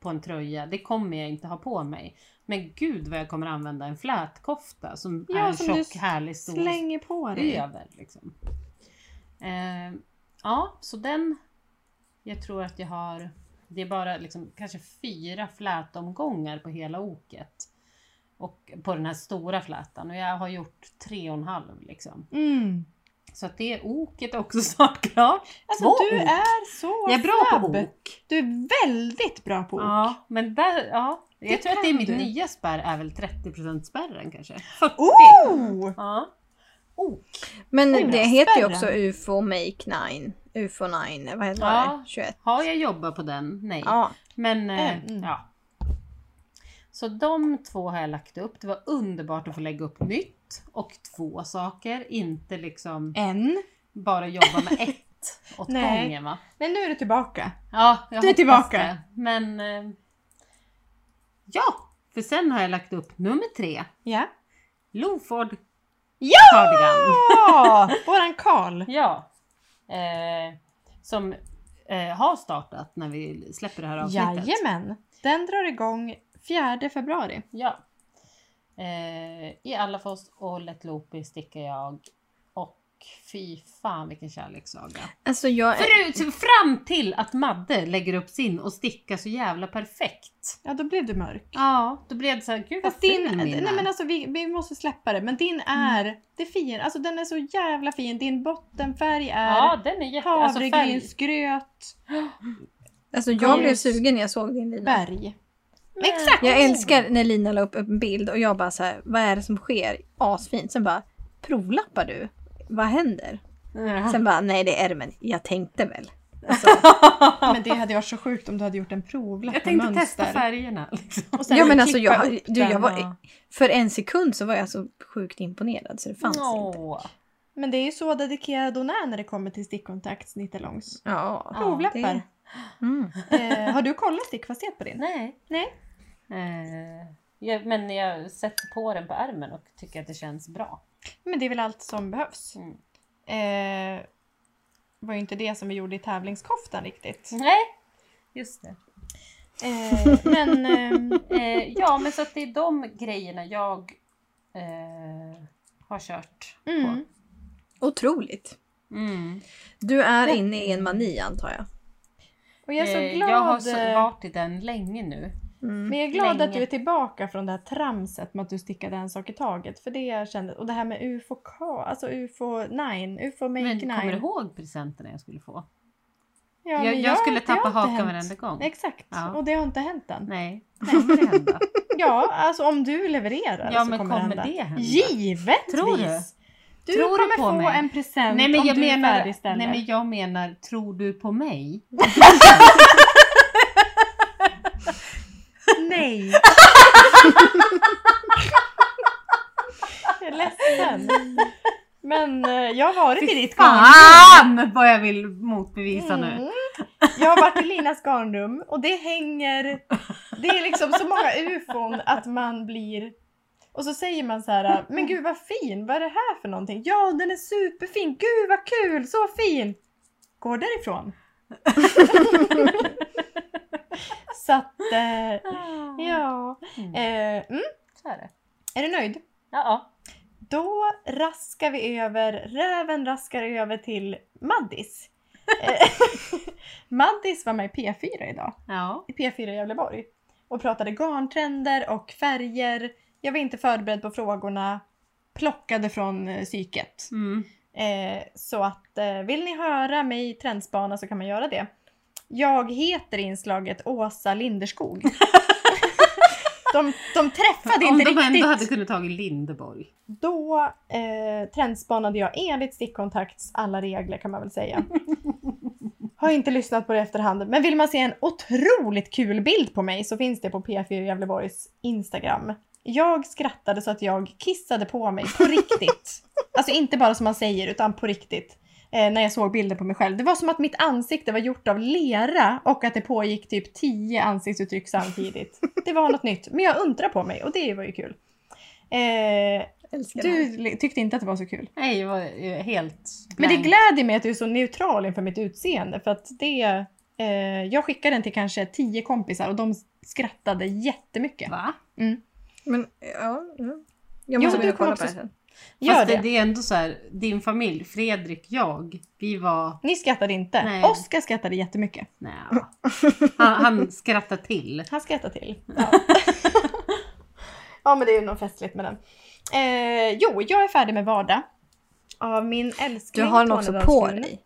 på en tröja. Det kommer jag inte ha på mig. Men gud vad jag kommer använda en flätkofta som
Ja,
är
som du
tjock, härlig, stor,
Slänger på dig.
över. Liksom. Eh, ja, så den, jag tror att jag har, det är bara liksom, kanske fyra flätomgångar på hela oket. Och på den här stora flätan och jag har gjort tre och en halv liksom.
Mm.
Så att det är oket också *laughs* snart klart.
Alltså
Två
du
ok.
är så
Jag är bra
snabb.
på ok.
Du är väldigt bra på ok.
Ja, men där, ja. Jag
Det
tror att det är
kan
mitt
du.
nya spärr är väl 30 spärren kanske. 40!
Oh!
Ja. Ok.
Men det
Oj, vad
heter ju
spärren.
också UFO Make 9. UFO 9, vad heter
Ja.
det? 21.
Har jag jobbat på den? Nej.
Ja.
Men eh,
Mm.
ja. Så de två har jag lagt upp. Det var underbart att få lägga upp nytt och två saker. Inte liksom
En.
bara jobba med ett
*laughs*
åt
Nej.
gången va.
Men nu är du tillbaka.
Ja, jag
Du är
hoppas
tillbaka.
Det. Men eh, ja, för sen har jag lagt upp nummer tre.
Ja.
Loford
Ja!
cardigan.
Ja! Våran
*laughs*
Karl.
Ja. Eh, som eh, har startat när vi släpper det här avsnittet.
Jajamän. Den drar igång 4 februari.
Ja. Eh, I alla oss och Let Loopy stickar jag. Och fy fan vilken kärlekssaga.
Alltså jag är...
Förut, fram till att Madde lägger upp sin och stickar så jävla perfekt.
Ja, då blev du mörk.
Ja, då blev det såhär, gud vad
Fast
fin
din,
min
nej
är. Mm.
men alltså vi, vi måste släppa det, men din är, det är fin, alltså den är så jävla fin. Din bottenfärg är
Ja, den är jätte... Alltså färg.
havregrynsgröt,
Alltså
Ja,
jag blev
just.
sugen när jag såg din Lina.
berg.
Mm.
Exakt!
Jag älskar när Lina la upp en bild och jag bara så här, vad är det som sker? Asfint. Sen bara, provlappar du? Vad händer? *laughs* Sen
Ah.
bara, nej det är ärmen. Jag tänkte väl. Alltså,
*laughs* Men det hade varit så sjukt om du hade gjort en provlapp
Jag
med
tänkte
mönster.
testa färgerna. Liksom.
Och sen
Ja, men
klippa
alltså, jag-
upp
du, jag
den
var-
och-
för en sekund så var jag så sjukt imponerad så det fanns inte.
Åh.
Men det är ju så dedikerad hon är när det kommer till stickkontakt snittelångs.
Ja.
Provlappar.
det- Mm.
Eh, har du kollat stickfasthet på din?
Nej.
Nej.
Eh, jag, men jag sätter på den på ärmen och tycker att det känns bra.
Men det är väl allt som behövs.
Mm.
Eh, var ju inte det som vi gjorde i tävlingskoftan riktigt.
Nej, just det. Mm.
Eh,
*laughs*
men ehm,
Eh, ja, men så att det är de grejerna jag eh, har kört på.
Mm.
Otroligt.
Mm.
Du är inne i en mani antar jag.
Och jag är så
Eh,
glad,
jag har så,
eh,
varit i den länge nu.
Mm.
men jag är glad
länge.
att du är tillbaka från det här tramset med att du stickade en sak i taget. För det jag kände, och det här med UFOK, alltså UFO 9, UFO Make
Men
9.
kommer du ihåg presenterna jag skulle få?
Ja,
jag,
men
jag,
det
skulle
har
tappa
inte
hakan
hänt.
varenda gång.
Exakt,
Ja.
och det har inte hänt än.
Nej, det kommer det hända.
Ja, alltså om du levererar
Ja,
så
men
kommer,
kommer
det hända.
det hända?
Givetvis!
Tror du?
Du
Tror du
kommer
på
få
mig?
en present
Nej men,
om
jag
du är
menar,
färdigställer.
nej men jag menar, tror du på mig? *laughs*
Nej. jag är ledsen. Men eh, jag har varit i ditt garnrum.
Fan vad jag vill motbevisa nu.
Mm. Jag har varit i Linas garnrum och det hänger... Det är liksom så många ufon att man blir... Och så säger man så här, men gud vad fin, vad är det här för någonting? Ja, den är superfin, gud vad kul, så fin! Går därifrån. *laughs* så att, eh, ja.
Mm.
Eh, mm,
Så är det.
är du nöjd?
Ja, ja.
Då raskar vi över, räven raskar över till Maddis. Eh, *laughs* Maddis var med i P4 idag,
ja.
i P4 i Gävleborg och pratade garntrender och färger. Jag var inte förberedd på frågorna, plockade från eh, psyket.
Mm.
Eh, så att eh, vill ni höra mig trendspana så kan man göra det. Jag heter i inslaget
*laughs*
Åsa Linderskog. de, de träffade
Om de
inte riktigt.
ändå hade kunnat tagit Lindeborg.
Då eh, trendspanade jag enligt stickkontakts alla regler kan man väl säga. Har inte lyssnat på det i efterhand, men vill man se en otroligt kul bild på mig så finns det på P4 Gävleborgs Instagram. Jag skrattade så att jag kissade på mig på riktigt. Alltså inte bara som man säger utan på riktigt. Eh, när jag såg bilder på mig själv. Det var som att mitt ansikte var gjort av lera och att det pågick typ 10 ansiktsuttryck samtidigt. Det var något nytt. Men jag undrar på mig och det var ju kul. Eh,
Älskar det här.
du li- tyckte inte att det var så kul.
Nej, det var eh, helt
Men det
blank.
gläder mig att du är så neutral inför mitt utseende för att det... Eh, jag skickade den till kanske 10 kompisar och de skrattade jättemycket.
Va?
Men ja, ja. jag
Jo,
måste
du
börja
kan
kolla
också
på det här.
Gör
Fast
det.
det. det är ändå så här, din familj, Fredrik, jag, vi var...
Ni skrattade inte.
Nej.
Oskar skrattade jättemycket.
Nej,
*laughs*
han, han skrattade till.
Han skrattar till. Ja. *laughs* men det är ju något festligt med den. Eh, jo, jag är färdig med vardag. Av min
Du
älskling
har den också på
Tornedalskvinna.
dig.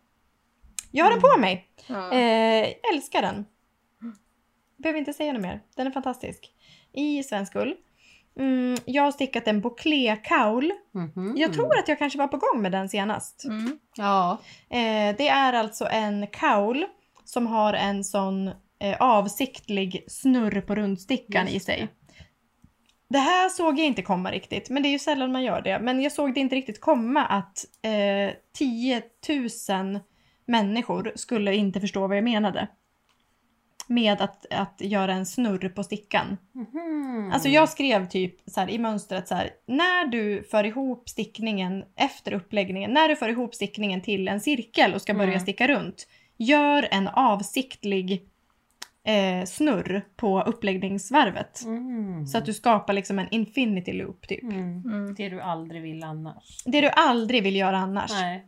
Jag har den på mig.
Ja.
Eh, jag älskar den. Behöver inte säga något mer. Den är fantastisk. I svensk ull. Mm, jag har stickat en bouclé-kaul.
Mhm.
Jag tror att jag kanske var på gång med den senast.
Mm.
Ja.
Eh, det är alltså en kaul som har en sån eh, avsiktlig snurr på rundstickan
Just
i sig.
det.
Det här såg jag inte komma riktigt, men det är ju sällan man gör det. Men jag såg det inte riktigt komma att eh, 10 000 människor skulle inte förstå vad jag menade. Med att, att göra en snurr på stickan.
Mhm.
Alltså jag skrev typ så här, i mönstret så här, när du för ihop stickningen efter uppläggningen, när du för ihop stickningen till en cirkel och ska börja
Mm.
sticka runt, gör en avsiktlig eh, snurr på uppläggningsvarvet.
Mm.
Så att du skapar liksom en infinity loop typ.
Mm.
Mm.
Det du aldrig vill annars.
Det du aldrig vill göra annars,
Nej.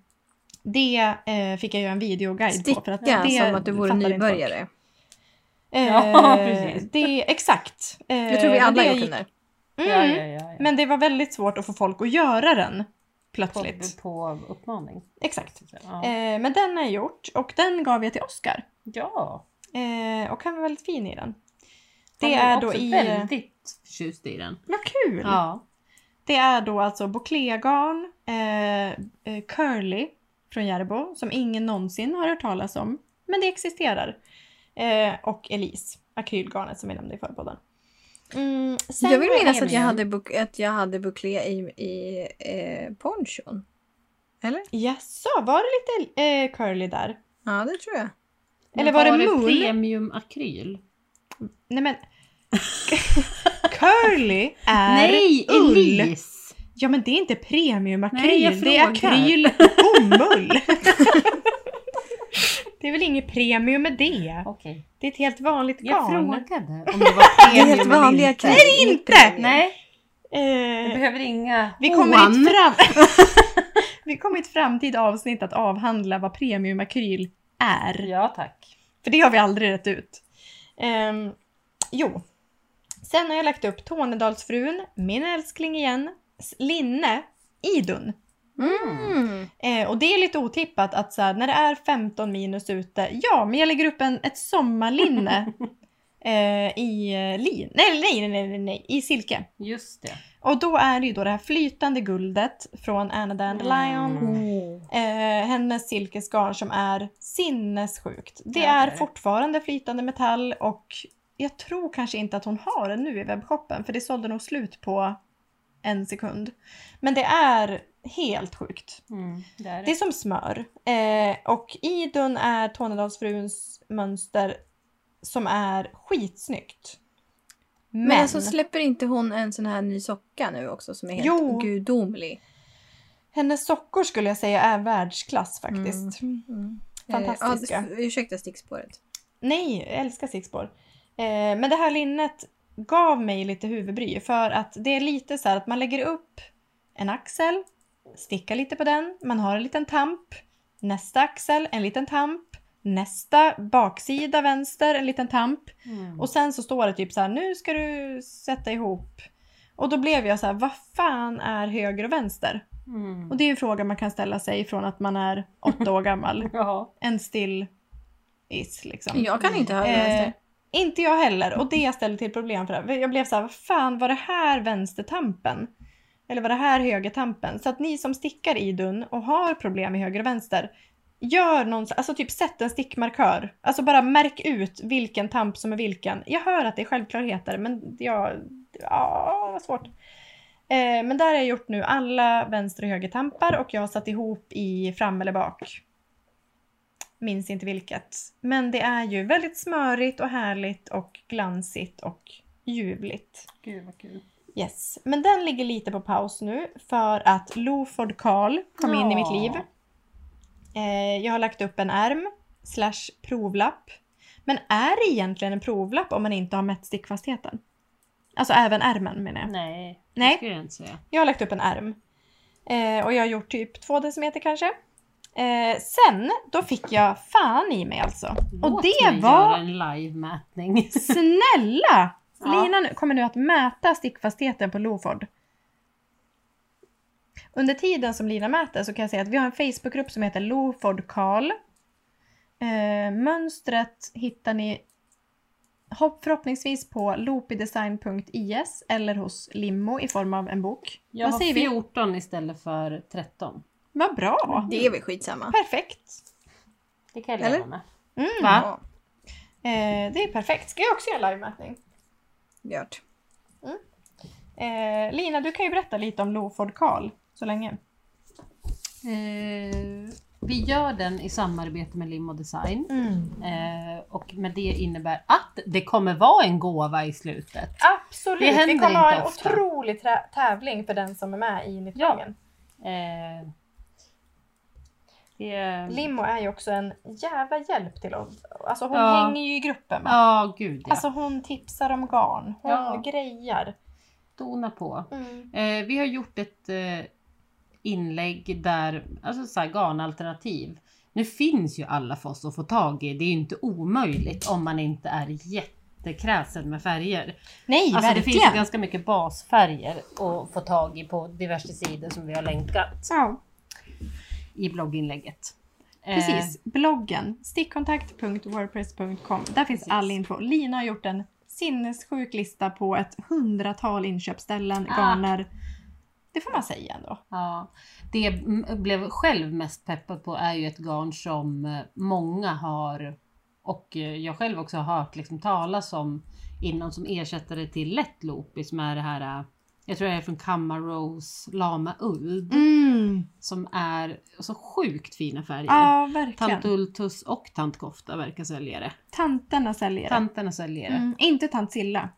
det eh, fick jag göra en videoguide på.
Sticka som att du vore
fattar inte folk.
nybörjare.
Eh,
Ja, precis.
Det, exakt. Eh,
Jag tror vi
men
alla
det
gjort den
gick-
där.
Ja,
Mm.
ja, ja, ja.
Men det var väldigt svårt att få folk att göra den
på,
plötsligt.
på uppmaning.
Exakt.
Ja.
Eh, men den är gjort och den gav jag till Oscar.
ja.
Eh, och han var väldigt fin i den.
Han
Det
var
är då
också
i...
väldigt förtjust i den.
Vad kul!
eh, Ja.
Det är då alltså bouclégarn, eh, eh, Curly från Järbo som ingen någonsin har hört talas om. Men det existerar. Eh, och Elise, akrylgarnet som vi nämnde i förra podden. Mm, sen
Jag vill
har
minnas
hem
att jag
igen.
hade, buk- att jag hade buklé i, i eh, ponchon. Eller?
Jaså, var det lite eh, Curly där?
Ja, det tror jag.
Eller var det mull?
premiumakryl?
Nej men... *laughs* curly är
Nej,
ull.
Elise!
Ja men det är inte premiumakryl,
Nej, jag
det är
frågar.
akryl och bomull. *laughs* det är väl inget premium med det?
Okej.
Det är ett helt vanligt
Jag
garn.
frågade *laughs* om det var
Det är
premium
helt
eller
vanliga
inte.
kläder.
Nej, det är inte!
Nej, vi
Eh,
behöver inga
vi kommer i
Oan.
ett fram...
*laughs*
vi kommer i ett framtida avsnitt att avhandla vad premiumakryl är.
Ja tack.
För det har vi aldrig rätt ut. Ehm, jo. Sen har jag lagt upp Tornedalsfrun, min älskling igen, s- linne, Idun.
Mm.
Eh, och det är lite otippat att så här, när det är 15 minus ute, ja men jag lägger upp en,
*laughs*
ett sommarlinne eh, i eh, lin. Nej, nej, nej, nej, nej, i silke.
Just det.
Och då är det ju då det här flytande guldet från Anna Dandelion.
Mm.
Eh, hennes silkesgarn som är sinnessjukt. Det
Ja, det
är
är det.
fortfarande flytande metall och jag tror kanske inte att hon har den nu i webbshoppen för det sålde nog slut på en sekund. Men det är helt sjukt.
Mm, det är
Det är
det.
som smör. Eh, och Idun är Tornedalsfruns mönster som är skitsnyggt. Men,
Men, alltså släpper inte hon en sån här ny socka nu också som är helt
Jo.
gudomlig?
hennes sockor skulle jag säga är världsklass faktiskt.
Mm.
Fantastiska.
Eh, ja, ursäkta stickspåret.
Nej, jag älskar stickspår. Eh, men det här linnet gav mig lite huvudbry för att det är lite så här att man lägger upp en axel, stickar lite på den, man har en liten tamp, nästa axel, en liten tamp, nästa baksida vänster, en liten tamp.
Mm.
Och sen så står det typ så här, nu ska du sätta ihop. Och då blev jag så här, vad fan är höger och vänster?
Mm.
Och det är ju en fråga man kan ställa sig från att man är åtta år gammal.
Ja.
En still is liksom.
Jag kan inte höra
Eh,
det.
inte jag heller och det ställde till problem för det. Jag blev så här, vad fan var det här vänstertampen? Eller var det här högertampen? Så att ni som stickar i dun och har problem med höger och vänster, gör någon, alltså typ sätt en stickmarkör. Alltså bara märk ut vilken tamp som är vilken. Jag hör att det är självklarheter men jag, ja, vad svårt. Eh, men där har jag gjort nu alla vänster och högertampar och jag har satt ihop i fram eller bak. Minns inte vilket. Men det är ju väldigt smörigt och härligt och glansigt och ljuvligt.
Gud vad kul.
Yes. Men den ligger lite på paus nu för att Loford Karl kom in i
Ja.
mitt liv. Eh, jag har lagt upp en ärm slash provlapp. Men är det egentligen en provlapp om man inte har mätt stickfastheten? Alltså även ärmen menar jag.
Nej,
Nej.
det skulle jag inte säga.
Jag har lagt upp en ärm. Eh, och jag har gjort typ två decimeter kanske. Eh, sen, då fick jag fan i mig alltså. och
Låt
det
mig göra
var
en live-mätning.
*laughs* snälla!
*laughs* Ja.
Lina nu- kommer nu att mäta stickfastheten på Loford. Under tiden som Lina mäter så kan jag säga att vi har en Facebookgrupp som heter Loford Karl. Eh, mönstret hittar ni hopp- förhoppningsvis på lopidesign.is eller hos Limmo i form av en bok.
Jag
Vad
har
säger vi?
14 istället för 13.
Vad bra!
Det är väl skitsamma.
Perfekt!
Det kan jag
Eller?
leva med.
Mm.
Va?
Ja,
Eh, det är perfekt. Ska jag också göra livemätning? Mm.
gjort.
Eh, Lina, du kan ju berätta lite om Loford Karl så länge.
Eh, vi gör den i samarbete med Lim och Design. Eh, och med det innebär att det kommer vara en gåva i slutet.
Absolut!
Det händer
Vi kommer ha en
inte ofta.
otrolig trä- tävling för den som är med i knitgången.
Eh, det är...
Limmo är ju också en jävla hjälp till oss. Alltså hon
Ja.
hänger ju i gruppen. va?
Ja, gud ja.
Alltså hon tipsar om garn. Hon
Ja.
grejar. Mm.
Dona på. Eh, vi har gjort ett eh, inlägg där, alltså så här, garnalternativ. Nu finns ju alla för oss att få tag i. Det är ju inte omöjligt om man inte är jättekräsen med färger.
Nej,
Alltså det
verkligen!
finns ju ganska mycket basfärger att få tag i på diverse sidor som vi har länkat
ja,
i blogginlägget. Eh,
precis. Bloggen stickkontakt.wordpress.com. Där finns
Precis.
all info. Lina har gjort en sinnessjuk lista på ett hundratal inköpsställen,
Ah.
garner. Det får man säga ändå.
Ja, det jag m- blev själv mest peppad på är ju ett garn som eh, många har och eh, jag själv också har hört liksom talas om innan som ersättare till lätt loopy som är det här, eh, jag tror det är från Kamaros Lama Uld
Mm.
som är så sjukt fina färger.
Ja, verkligen.
Tant Ultus och Tant Kofta verkar sälja det.
Tanterna säljer det.
Tanterna säljer det.
Mm, inte tant Silla.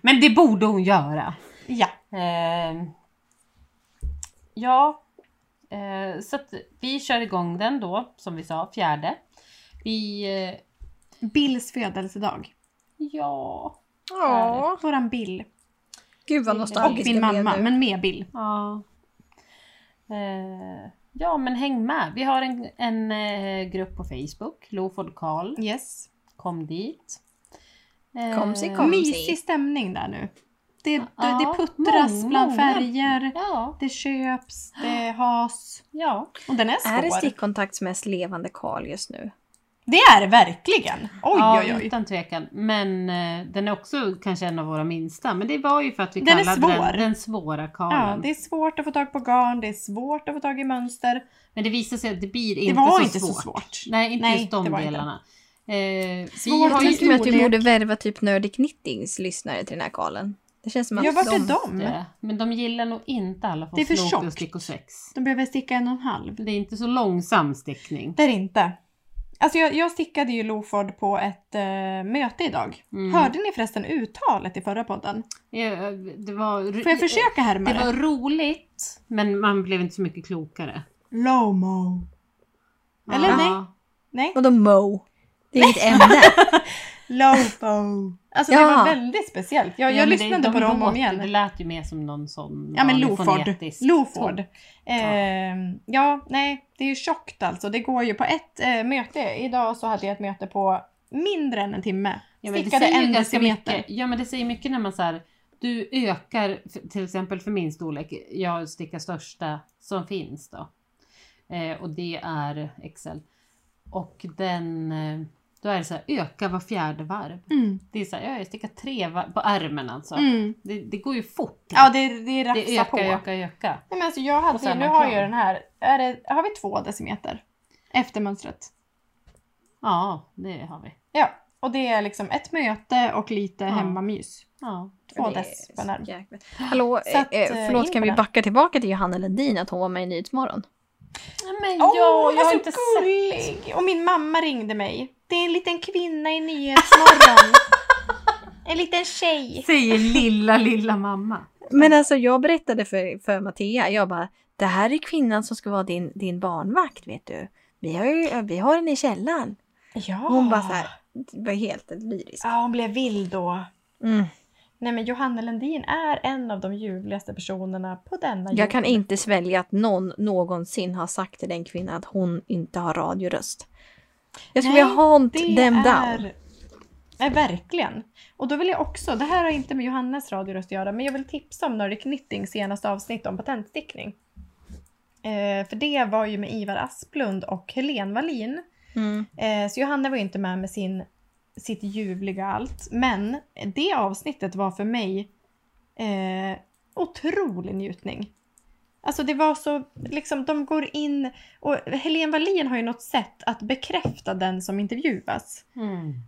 Men det borde hon göra.
Ja.
Eh, ja, eh, så att vi kör igång den då, som vi sa, fjärde. Vi, eh,
Bills födelsedag.
ja,
Ja.
Våran Bill.
Gud vad
Och
nostalgiska
min
vi är
mamma,
nu.
men med Bill.
ja. Eh, ja, men häng med. Vi har en, en eh, grupp på Facebook, Loford Karl,
Yes.
kom dit. Eh,
Kom sig, kom.
Mysig stämning där nu. Det, det,
Ja,
det puttras
många,
bland
många.
färger.
Ja,
Det köps, det has.
ja.
Och den är svår.
Är det stickkontakts mest levande Karl just nu?
Det är det verkligen! Oj,
ja,
oj, oj.
utan tvekan. Men eh, den är också kanske en av våra minsta. Men det var ju för att vi
Den är
kallade
svår.
den den svåra karlen.
Ja, det är svårt att få tag på garn, det är svårt att få tag i mönster.
Men det visade sig att det blir
Det
inte,
var
så,
inte
svårt.
så svårt.
Nej, inte
Nej,
just de
det var inte.
delarna. Eh,
Svårt
vi har
Det
men
känns som
ju
att vi
storlek.
borde värva typ Nerdy Knittings lyssnare till den här Karlen. Det känns som att
Ja, vart är
de-
de?
det, men de eh, gillar nog inte alla
Det är för
för
tjockt.
stick och sex.
De behöver sticka en och en halv.
Det är inte så långsam stickning.
Det är det inte. Alltså jag, jag stickade ju Loford på ett eh, möte idag.
Mm.
Hörde ni förresten uttalet i förra podden?
Eh, Det var,
Får jag försöka härma
Det
det?
var roligt, men man blev inte så mycket klokare.
Lomo. Eller
ja.
nej?
*laughs*
Nej?
Vadå Mo? Det är inget ämne.
Lofo. Alltså det
Ja.
var väldigt speciellt. Jag,
Ja,
jag
men
lyssnade
det,
på
de
dem om
låter- Det
igen.
lät ju mer som någon sån
Ja men
vanlig
Loford.
fonetisk typ.
Loford.
ton.
Ehm, ja, nej, det är ju tjockt alltså. Det går ju på ett eh, möte. Idag så hade jag ett möte på mindre än en timme.
Ja, men det
Stickade
säger ju
en
ganska
decimeter.
mycket. Ja men det säger mycket när man så här, du ökar f- till exempel för min storlek, jag stickar största som finns då. Eh, och det är XL. Och den, eh, då är det så här, öka var fjärde varv.
Mm.
Det är så här, ja, jag stickar tre varv på ärmen alltså.
Mm.
Det, det går ju fort.
Ja, det, det rafsar
det ökar,
på.
ökar, ökar.
Nej men alltså jag
Och
hade,
sen
nu
en
har
kran.
jag den här, är det, har vi två decimeter efter mönstret?
Ja, det har vi.
Ja. Och det är liksom ett möte och lite hemmamys.
Ja.
Två
Det är
dess på närm.
så jäkla- Hallå,
Så att,
eh,
eh, in
förlåt
på
kan vi
det.
backa tillbaka till Johanna Ledin att hon var med i Nyhetsmorgon?
Men
Åh,
ja, jag har
så
inte sett.
alltså gullig! Och min mamma ringde mig. Det är en liten kvinna
*laughs*
i Nyhetsmorgon. en liten tjej.
Säger lilla, lilla mamma.
Men alltså jag berättade för, för Mattia, jag bara det här är kvinnan som ska vara din, din barnvakt vet du. Vi har, ju, vi har henne i källaren.
Ja.
Och Hon bara så här, var helt lyrisk.
Ja, hon blev vild då.
Mm.
Nej men Johanna Lundin är en av de ljuvligaste personerna på denna
Jag kan inte svälja att någon någonsin har sagt till den kvinnan att hon inte har radioröst. Jag skulle
Nej,
vilja haunt
Det
them
är...
down.
Nej, verkligen. Och då vill jag också, det här har inte med Johannes radioröst att göra, men jag vill tipsa om Nordic Knittings senaste avsnitt om patentstickning. Eh, för det var ju med Ivar Asplund och Helen Wallin.
Mm.
Eh, så Johanna var ju inte med med sin, sitt ljuvliga allt. Men det avsnittet var för mig eh, otrolig njutning. Alltså det var så, liksom de går in och Helen Wallin har ju något sätt att bekräfta den som intervjuas.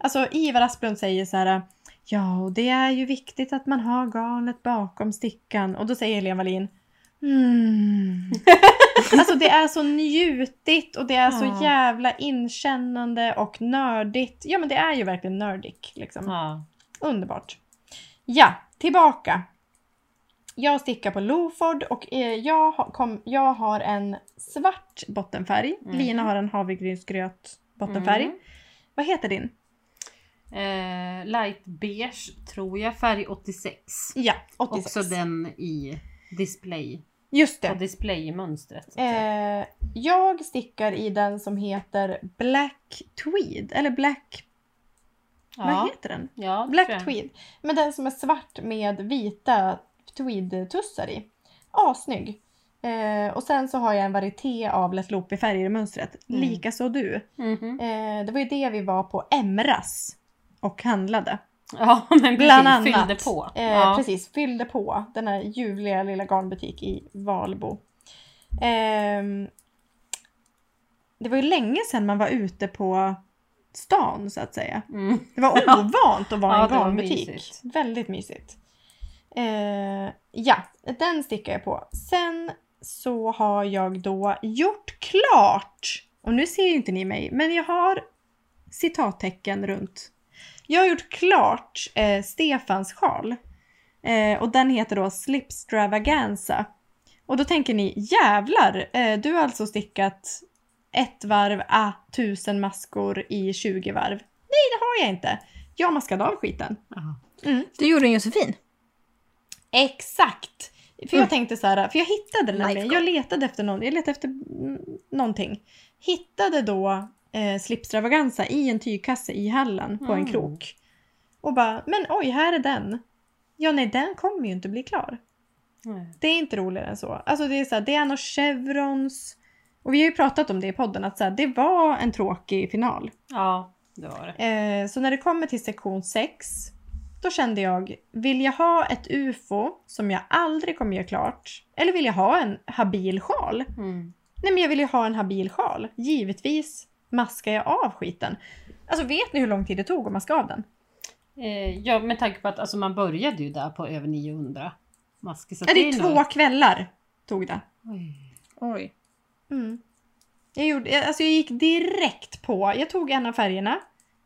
Alltså Ivar Asplund säger så här. Ja, och det är ju viktigt att man har garnet bakom stickan. Och då säger Helena Wallin. Mm. alltså det är så njutigt och det är
Ja.
så jävla inkännande och nördigt. Ja men det är ju verkligen nördigt liksom.
Ja.
Underbart. Ja, tillbaka. Jag stickar på Loford och eh, jag, har- kom, jag har en svart bottenfärg.
Mm.
Lina har en havregrynsgröt bottenfärg.
Mm.
Vad heter din?
Eh, light beige tror jag, färg 86.
Ja, 86.
Också den i display.
Just det.
På displaymönstret. så att säga.
Eh, jag stickar i den som heter Black Tweed. Eller Black... Vad
ja.
heter den?
ja, det
Black
tror jag.
Tweed. Men den som är svart med vita tweedtussar i. Assnygg. Eh, och sen så har jag en varieté av Let Loopy-färger i mönstret.
Mm.
Likaså du.
Mhm.
Eh, det var ju det vi var på Emras och handlade.
Ja, *laughs* men
Bland
precis.
annat.
Fyllde på.
Eh,
ja.
Precis, fyllde på den här ljuvliga lilla garnbutik i Valbo. Ehm, det var ju länge sedan man var ute på stan så att säga.
Mm.
Det *laughs* var ovant att vara i
Ja,
en
det var
garnbutik.
mysigt.
Väldigt mysigt. Eh, ja, den stickar jag på. Sen så har jag då gjort klart, och nu ser ju inte ni mig, men jag har citattecken runt. Jag har gjort klart eh, Stefans sjal. Eh, och den heter då Slipstravaganza. Och då tänker ni, jävlar, eh, du har alltså stickat ett varv a tusen maskor i 20 varv. Nej, det har jag inte. Jag maskade av skiten.
Ja.
Du gjorde en Josefin.
Exakt! För jag
Mm.
tänkte så här, för jag hittade den
Life
nämligen.
goal.
Jag letade efter någon, jag letade efter mm, någonting. Hittade då eh, Slipstravaganza i en tygkasse i hallen på en
Mm.
krok. Och bara, men oj, här är den. Ja, nej, den kommer ju inte bli klar.
Mm.
Det är inte roligare än så. Alltså det är så här, det är några chevrons. Och vi har ju pratat om det i podden, att så här, det var en tråkig final.
ja, det var det.
Eh, så när det kommer till sektion 6, då kände jag, vill jag ha ett UFO som jag aldrig kommer göra klart? Eller vill jag ha en habil sjal?
Mm.
Nej men jag vill ju ha en habil sjal. Givetvis maskar jag av skiten. Alltså vet ni hur lång tid det tog att maska av den?
Eh, ja, med tanke på att alltså, man började ju där på över 900 masker. Så
Ja, det är
nog-
två kvällar tog det.
Oj.
Oj.
Mm. Jag, gjorde, jag- alltså jag gick direkt på, jag tog en av färgerna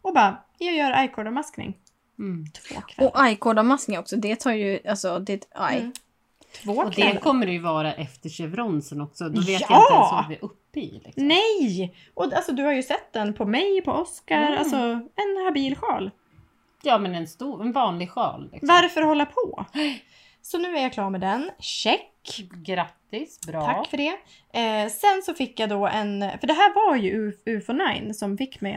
och bara, jag gör eye-corner-maskning.
Mm.
Två kvällar.
Och eye-kodamaskning också, det tar ju, alltså det är ett eye.
Mm. Två
Och det
kvällar.
kommer det ju vara efter chevronsen också. Då vet jag
Ja!
inte ens vad vi är uppe i. Liksom.
Nej! Och alltså du har ju sett den på mig, på Oscar,
Mm.
alltså en habil sjal.
Ja, men en, stor, en vanlig sjal. Liksom.
Varför hålla på? Så nu är jag klar med den. Check!
Grattis, bra.
Tack för det. Eh, sen så fick jag då en, för det här var ju Uf- UFO9 som fick mig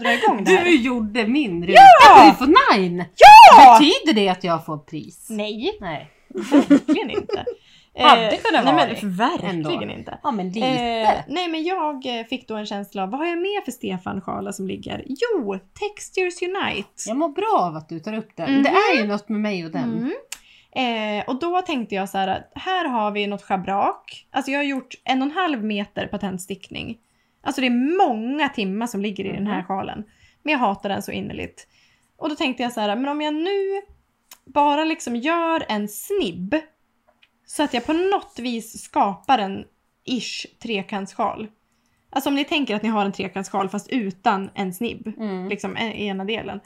*laughs*
dra igång det här.
Du gjorde min ruta! Ja! Du får nine!
Ja!
Betyder det att jag får pris?
Nej,
Nej.
verkligen inte.
*laughs*
Eh,
Hade kunnat
nej,
vara
men,
det,
Verkligen
ändå.
inte.
Ja, men lite.
Eh, nej men jag eh, fick då en känsla av, vad har jag med för Stefan sjalar som ligger? Jo, Textures Unite!
Jag mår bra av att du tar upp den.
Mhm.
Det är ju något med mig och den.
Mm. Eh, och då tänkte jag så här, att här har vi något schabrak. Alltså jag har gjort en och en halv meter patentstickning. Alltså det är många timmar som ligger i den här
Mhm.
sjalen. Men jag hatar den så innerligt. Och då tänkte jag så här, men om jag nu bara liksom gör en snibb så att jag på något vis skapar en ish trekantssjal. Alltså om ni tänker att ni har en trekantssjal fast utan en snibb,
Mm.
liksom en, ena delen.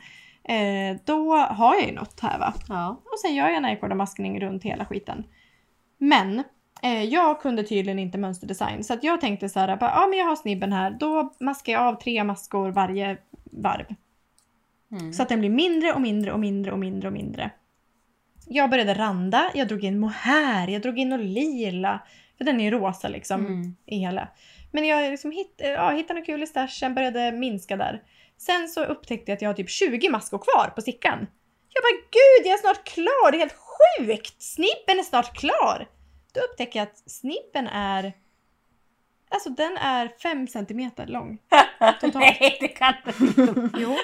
Eh, då har jag ju något här va.
Ja.
Och sen gör jag en aircordermaskning runt hela skiten. Men eh, jag kunde tydligen inte mönsterdesign så att jag tänkte så här, bara, ja men jag har snibben här, då maskar jag av tre maskor varje varv.
Mm.
Så att den blir mindre och mindre och mindre och mindre och mindre. Jag började randa, jag drog in mohair, jag drog in och lila. För den är ju rosa liksom
Mm.
i hela. Men jag liksom hitt, ja, hittade något kul i stashen, började minska där. Sen så upptäckte jag att jag har typ 20 maskor kvar på stickan. Jag bara gud, jag är snart klar! Det är helt sjukt! Snibben är snart klar! Då upptäcker jag att snibben är... Alltså den är 5 cm lång. *laughs* Totalt.
Nej, det kan *laughs* inte.
Jo.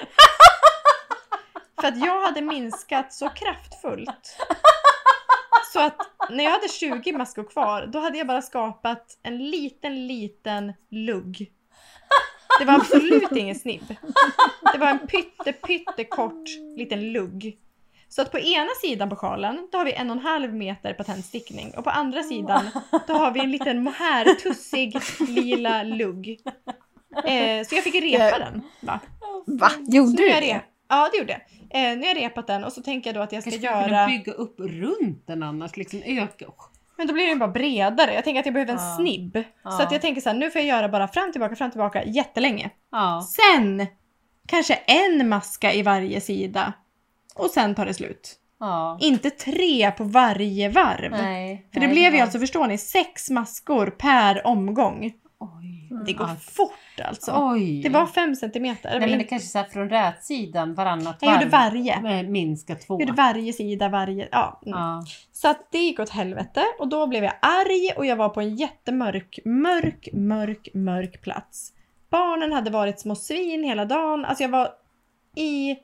För att jag hade minskat så kraftfullt. Så att när jag hade 20 maskor kvar, då hade jag bara skapat en liten, liten lugg. Det var absolut ingen snibb. Det var en pytte, pytte kort liten lugg. Så att på ena sidan på sjalen, då har vi en och en halv meter patentstickning och på andra sidan, då har vi en liten mohair-tussig lila lugg. Eh, så jag fick repa
Jag-
den. Va?
Va? Gjorde
Så nu
du
har jag
det?
re- Ja, det gjorde jag. Eh, nu har jag repat den och så tänker jag då att jag ska
Kanske skulle kunna
göra...
bygga upp runt den annars, liksom öka.
Men då blir den bara bredare. Jag tänker att jag behöver en
Ja.
snibb. Så
Ja.
att jag tänker så här, nu får jag göra bara fram, tillbaka, fram, tillbaka jättelänge.
Ja.
Sen kanske en maska i varje sida. Och sen tar det slut.
ja.
Inte tre på varje varv.
Nej.
För det
nej,
blev ju
var-
alltså, förstår ni, sex maskor per omgång.
Oj.
Mm. Det går
Ja.
fort alltså.
Oj.
Det var fem centimeter.
Nej, men det kanske så här från rätsidan varannat
Jag gjorde varje.
med minska två.
Jag gjorde varje sida, varje... Ja. Mm.
ja.
Så att det gick åt helvete och då blev jag arg och jag var på en jättemörk, mörk, mörk, mörk plats. Barnen hade varit små svin hela dagen. Alltså jag var i,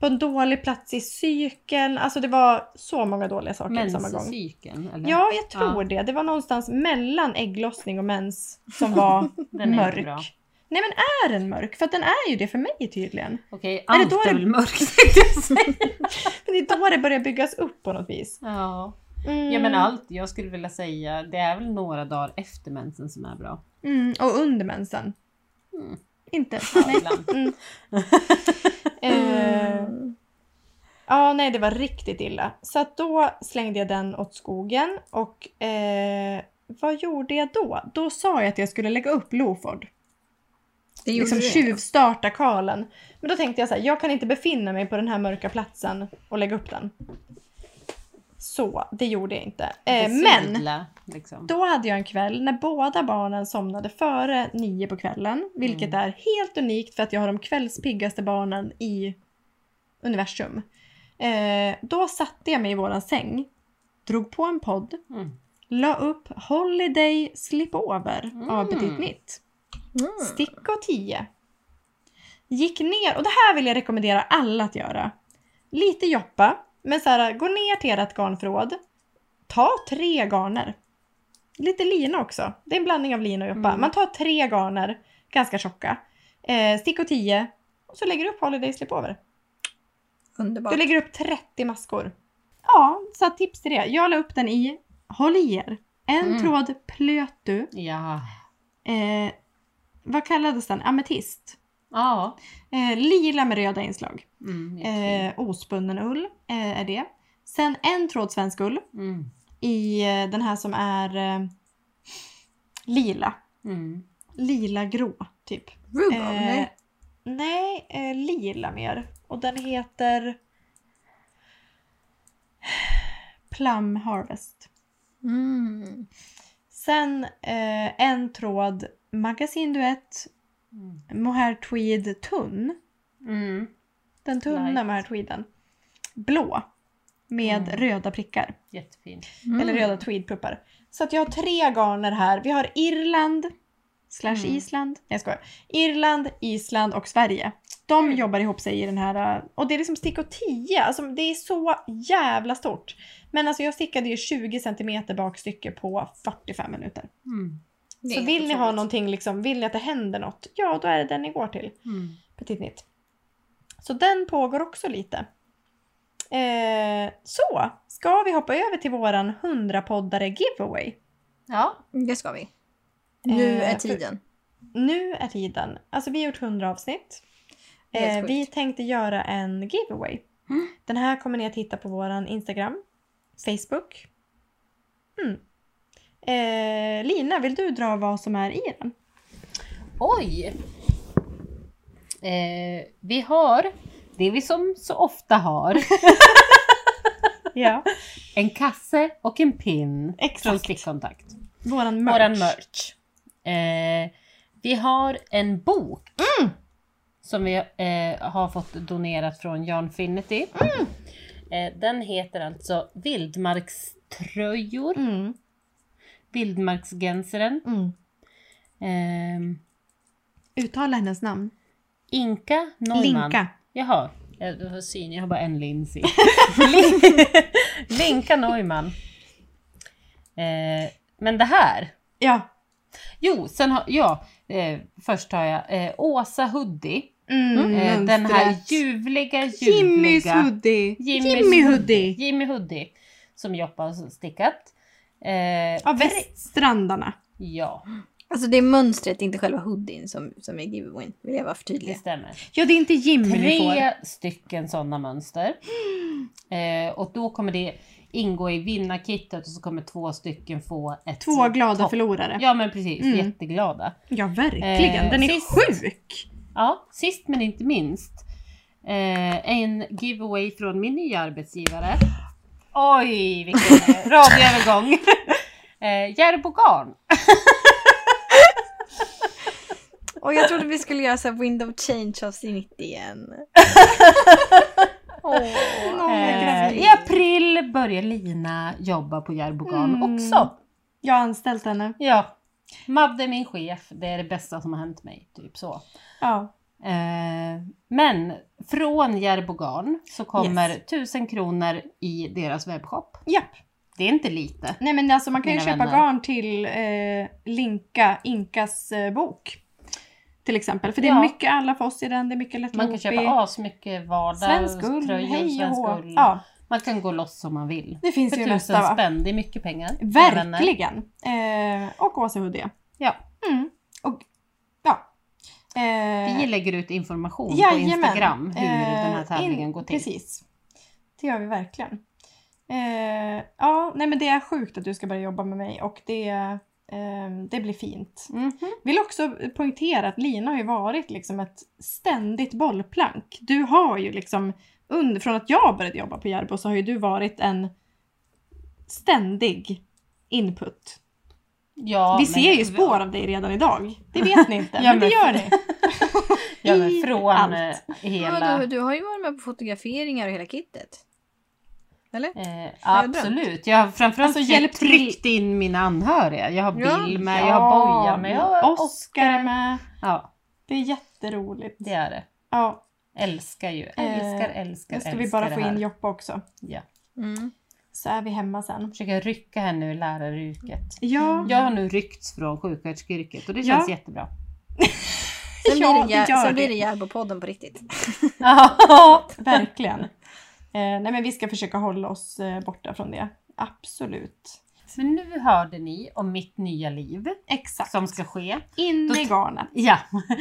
på en dålig plats i cykeln. Alltså det var så många dåliga saker på samma gång.
Menscykeln? eller?
Ja, jag tror det. Det var någonstans mellan ägglossning och mens som var
*laughs* Den är
mörk.
inte bra.
Nej men är den mörk? För att den är ju det för mig
*laughs*
tydligen.
Okej,
Är det
allt
då det-
är väl mörkt tänkte jag säga.
Men det är då det börjar byggas upp på något vis.
*laughs* Ja.
Mm.
ja, men allt jag skulle vilja säga, det är väl några dagar efter mensen som är bra.
Mm, och under mensen.
Mm.
Inte.
Ja, ibland.
Mm. Eh,
Mm.
ja, nej det var riktigt illa. Så att då slängde jag den åt skogen och eh, vad gjorde jag då? Då sa jag att jag skulle lägga upp Loford.
Det gjorde
Liksom
du.
tjuvstarta Karlen. Men då tänkte jag så här, jag kan inte befinna mig på den här mörka platsen och lägga upp den. Så det gjorde jag inte. Eh, men
Besudla, liksom.
då hade jag en kväll när båda barnen somnade före nio på kvällen, vilket
Mm.
är helt unikt för att jag har de kvällspiggaste barnen i universum. Eh, då satte jag mig i våran säng, drog på en podd,
Mm.
la upp Holiday Slipover av
Mm.
Petit Mitt.
Mm.
Stick och 10. Gick ner, och det här vill jag rekommendera alla att göra. Lite joppa, men så här, gå ner till ert garnförråd. Ta tre garner. Lite lina också. Det är en blandning av lina och joppa.
Mm.
Man tar tre garner, ganska tjocka. Eh, stick och 10. Och så lägger du upp Holiday Slipover.
Mm. Underbart.
Du liksom, lägger upp 30 maskor. Ja, så att tips till det. Jag la upp den i, håll i er, en
Mm.
tråd plöt du.
Ja.
Eh, vad kallades den? Ametist.
Ja.
Eh, lila med röda inslag.
Mm, jättefint.
Eh, ospunnen ull eh, är det. Sen en tråd svensk ull
mm.
i eh, den här som är eh, lila.
Mm.
Lila grå, typ.
Rubo?
Eh,
nej.
nej, eh, lila mer. Och den heter Plum Harvest.
Mm.
Sen eh, en tråd Magasin Duett
Mm.
Mohair Tweed tunn.
Mm.
Den tunna
Light.
med tweeden. Blå. Med
Mm.
röda prickar.
Jättefint.
Mm.
Eller röda tweedpluppar. Så att jag har tre garner här. Vi har Irland. Slash
Mm.
Island. Nej jag skojar. Irland, Island och Sverige. De
Mm.
jobbar ihop sig i den här. äh, Och det är liksom stickor 10. Alltså det är så jävla stort. Men alltså jag stickade ju 20 cm bakstycke på 45 minuter.
Mm.
Det är
Så
helt
vill ni ha
otroligt.
någonting liksom, vill ni att det händer något? Ja, då är det den ni går till.
Mm.
Petit Nitt. Så den pågår också lite. Eh, så, ska vi hoppa över till våran 100-poddare giveaway?
Ja.
Det ska vi. Nu
Eh,
är
för-
tiden.
Nu är tiden. Alltså vi har gjort 100 avsnitt.
Helt
Eh,
sjukt.
vi tänkte göra en giveaway.
Mm.
Den här kommer ni att hitta på våran Instagram, Facebook. Mm. Eh, Lina, vill du dra vad som är i den?
Oj! Eh, vi har det vi som så ofta har.
Ja,
En kasse och en pin från
exakt.
Stickkontakt.
*laughs* Våran merch.
Våran merch. Eh, vi har en bok
Mm.
som vi eh, har fått donerat från Jan Finity.
Mm.
Eh, den heter alltså Vildmarkströjor,
Mm,
Vildmarksgenseren.
mm.
Ehm,
Uttala hennes namn.
Inka Norman.
Linka.
Jaha, jag jag har syn, jag har bara en lins
*laughs*
i. Lin- Linka Neumann. Eh, men det här.
Ja.
Jo, sen har, ja, eh, först har jag eh, Åsa Hoodie.
Mm.
Mm.
Eh, den här
Mönstret.
ljuvliga,
Jimmys
ljuvliga
hoodie.
Jimmy's
Jimmy
hoodie.
hoodie.
Jimmy Hoodie som Joppa har stickat. Eh,
Av väststrandarna.
ja,
Alltså det är mönstret, inte själva hoodien som, som är giveawayn. Vill jag vara
det
förtydlig.
stämmer.
Ja, det är inte Jimmy ni får.
Tre stycken sådana mönster. Eh, och då kommer det ingå i vinnarkittet och så kommer två stycken få ett
Två glada
topp.
förlorare. Ja,
Ja men precis,
Mm.
jätteglada.
verkligen.
Eh,
den är
sist-
sjuk!
Ja, sist men inte minst. Eh, en giveaway från min nya arbetsgivare. Oj, vilken
*laughs*
eh, radioövergång! *laughs* Eh, Järbo Garn.
Och jag trodde vi skulle göra så här window change avsnitt igen.
*laughs*
Åh,
grattis.
Eh, I april börjar Lina jobba på Järbo Garn
Mm.
också.
Jag har anställt henne.
Ja. Madde är min chef, det är det bästa som har hänt mig. Typ så.
Ja.
Eh, men från Järbo Garn så kommer
Yes.
1000 kronor i deras webbshop.
Japp.
Det är inte lite.
Nej men alltså man kan ju
Mina
köpa
vänner.
garn till eh, Linka, Inkas eh, bok. Till exempel. För det är
Ja.
mycket alla för oss i den, det är mycket lätt
Man kan köpa asmycket
Svensk ull,
vardagströjor,
hej och
svensk
hå.
ull.
Ja,
Man kan gå loss som man vill.
det finns
För
ju
tusen
nästa va?
spänn, det är mycket pengar. mina vänner.
Verkligen! Eh, och Åsa Hoodie.
Ja.
Mm. Och, ja. Eh,
Vi lägger ut information
Jajamän.
på Instagram hur den här
Eh,
tävlingen
in-
går till.
Precis. Det gör vi verkligen. Eh, ja, nej men det är sjukt att du ska börja jobba med mig och det, ehm, det blir fint.
Mhm.
Vill också poängtera att Lina har ju varit liksom ett ständigt bollplank. Du har ju liksom, under, från att jag började jobba på Järbo så har ju du varit en ständig input.
Ja,
vi
men-
ser ju spår av dig redan idag. Det vet
*laughs*
ni inte, men det gör ni.
Ja, men
*laughs* i
från
allt.
eh,
Ja,
hela...
du, du har ju varit med på fotograferingar och hela kittet. Eller?
Eh,
Har jag
absolut. Jag har framförallt
Alltså, hjälp till-
tryckt in mina anhöriga. Jag har
Ja,
Bill med, jag har Boja med, jag har
Oskar är med.
Ja,
Det är jätteroligt.
det är det.
Ja,
Älskar ju. Älskar, älskar,
Eh, nu ska
älskar
vi bara få
det här.
in Joppa också.
Ja.
Mm.
Så är vi hemma sen.
Försöka rycka henne ur läraryrket.
Ja,
Jag har nu ryckts från sjuksköterskeyrket och det känns
Ja.
jättebra.
Sen blir
*laughs* ja
det,
det
Jär-
gör
sen blir
det.
det Järbo-podden på riktigt.
*laughs*
Verkligen. Eh, nej men vi ska försöka hålla oss eh, borta från det. Absolut.
Men nu hörde ni om mitt nya liv
Exakt.
som ska ske.
In
Då-
i garnet.
Ja,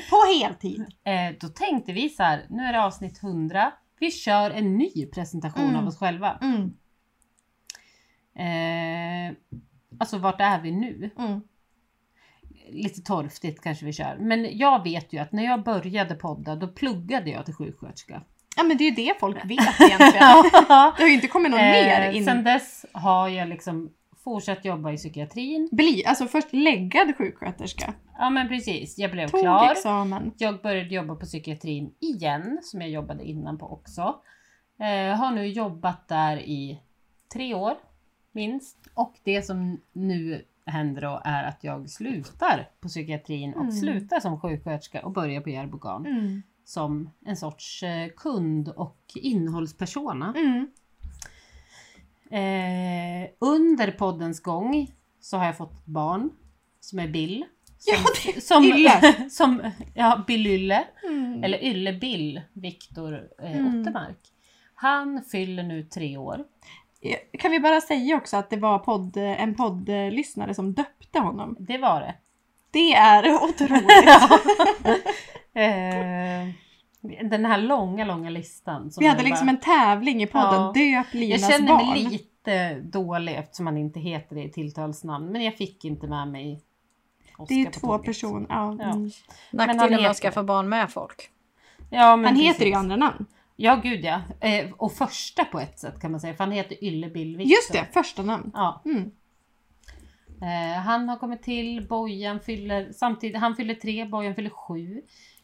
På heltid.
eh, då tänkte vi så här, nu är det avsnitt 100. Vi kör en ny presentation
Mm.
av oss själva.
Mm,
Eh, alltså vart är vi nu?
mm,
Lite torftigt kanske vi kör. Men jag vet ju att när jag började podda då pluggade jag till sjuksköterska.
Ja men det är ju det folk *laughs* vet
*laughs*
egentligen. *laughs* Det har ju inte kommit någon mer
eh,
in.
sen dess har jag liksom fortsatt jobba i psykiatrin.
Bli, alltså först läggad sjuksköterska.
Ja men precis, jag blev
Tog
klar.
examen.
Jag började jobba på psykiatrin igen, som jag jobbade innan på också. Eh, har nu jobbat där i tre år, minst. Och det som nu händer då är att jag slutar på psykiatrin och
Mm.
slutar som sjuksköterska och börjar på Järbo Garn
Mm.
som en sorts eh, kund och innehållspersona.
Mm.
Eh, under poddens gång så har jag fått ett barn som är Bill,
Ja,
det, som, *laughs*
Ylle.
Som, ja, Bill Ylle.
Mm.
Eller Ylle Bill, Viktor eh,
Mm.
Ottermark. Han fyller nu tre år.
Kan vi bara säga också att det var podd, en poddlyssnare som döpte honom.
Det var det.
Det är *laughs* otroligt.
Eh, den här långa, långa listan. som
vi hade
jag
liksom
bara-
en tävling i podden.
Ja.
Döp
Jag
Linas
känner mig
barn.
lite dålig eftersom han inte heter det i tilltalsnamn. Men jag fick inte med mig Oscar
det är ju
på
två
tåget.
personer. Ja.
Ja.
Mm.
han
Nackdelen med
heter-
att skaffa barn med folk.
Ja, men
Han heter
precis.
ju andra namn.
Ja, gud ja. Eh, och första på ett sätt kan man säga. För han heter Ylle Bill Victor.
Just det, första namn.
Ja.
Mm.
Eh, han har kommit till, Bojan fyller, samtidigt, han fyller tre, Bojan fyller sju.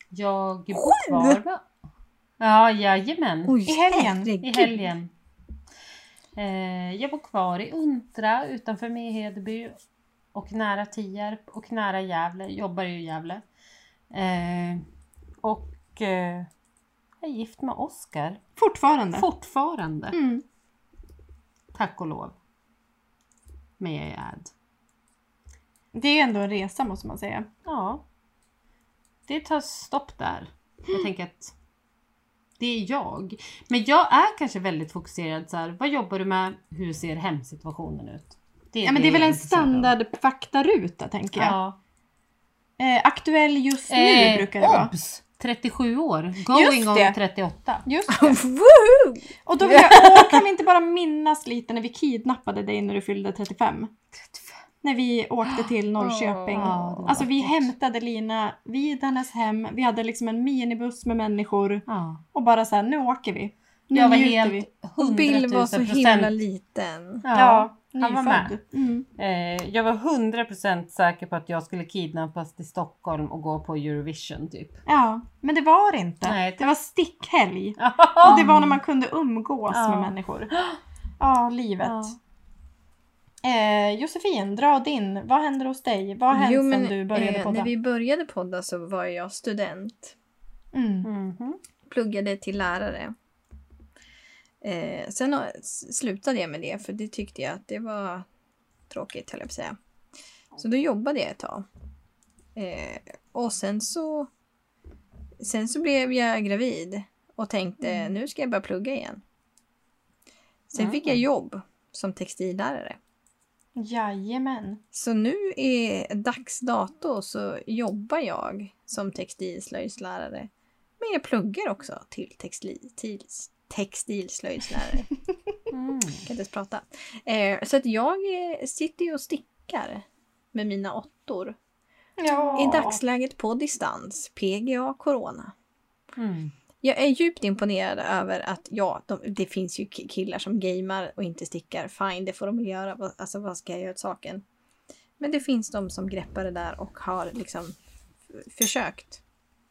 Jag bor kvar. Ja, jajamän.
Oj,
Mm. I helgen.
herregud.
I helgen. Eh, jag bor kvar i Untra utanför Mehedeby och nära Tierp och nära Gävle. Jobbar ju i Gävle. Eh, och eh, jag är gift med Oskar.
Fortfarande.
Fortfarande.
Mm.
Tack och lov. Men jag är äd.
Det är ändå en resa måste man säga.
Ja. Det tar stopp där.
*gasps*
Jag tänker att det är jag. Men jag är kanske väldigt fokuserad så här. Vad jobbar du med? Hur ser hemsituationen ut? är
Ja, men det är väl
jag är
en
intresserad av.
standardfaktaruta tänker jag.
Ja.
Eh, aktuell just nu
Eh,
brukar det vara.
obs! 37 år. Going on
det.
38. *laughs*
Just det.
*laughs* Woho!
Och då vill jag, åh, kan vi inte bara minnas lite när vi kidnappade dig när du fyllde 35? När vi åkte till Norrköping.
Åh.
Ja, det var
Alltså vi
vackert.
hämtade Lina vid hennes hem, vi hade liksom en minibuss med människor
Ja.
och bara så här, nu åker vi. Nu
Jag var
njuter
helt
vi.
100 000
Och Bill var så himla liten.
Ja.
nyfödd.
han var med.
Mm.
Eh, jag var 100% säker på att jag skulle kidnappas till Stockholm och gå på Eurovision typ.
Ja, men det var det inte.
Nej, det-
Det var stickhelg. Och det var när man kunde umgås
*gasps* Ja.
med människor. Ja, livet.
Ja.
Eh, Josefin, dra din. Vad händer hos dig? Vad har hänt
Jo,
sedan
men,
du började
eh,
podda?
När vi började podda så var jag student.
Mm.
Mhm.
pluggade till lärare. Eh, sen har- s- slutade jag med det för det tyckte jag att det var tråkigt höll jag på att säga. Så då jobbade jag ett tag. Eh, och sen så sen så blev jag gravid och tänkte nu ska jag börja plugga igen. Sen
Mm.
fick jag jobb som textillärare.
Jajamän.
Så nu är dags dato så jobbar jag som textilslöjdslärare. Men jag pluggar också till textil, tils, textilslöjdslärare. Jag
Mm.
kan inte ens prata. Eh, så att jag eh, sitter ju och stickar med mina åttor.
Ja.
I dagsläget på distans, PGA Corona.
Mm.
Jag är djupt imponerad över att ja, de, det finns ju ki- killar som gamer och inte stickar. Fine, det får de väl göra. Vad- Alltså vad ska jag göra åt saken? Men det finns de som greppar det där och har liksom f- försökt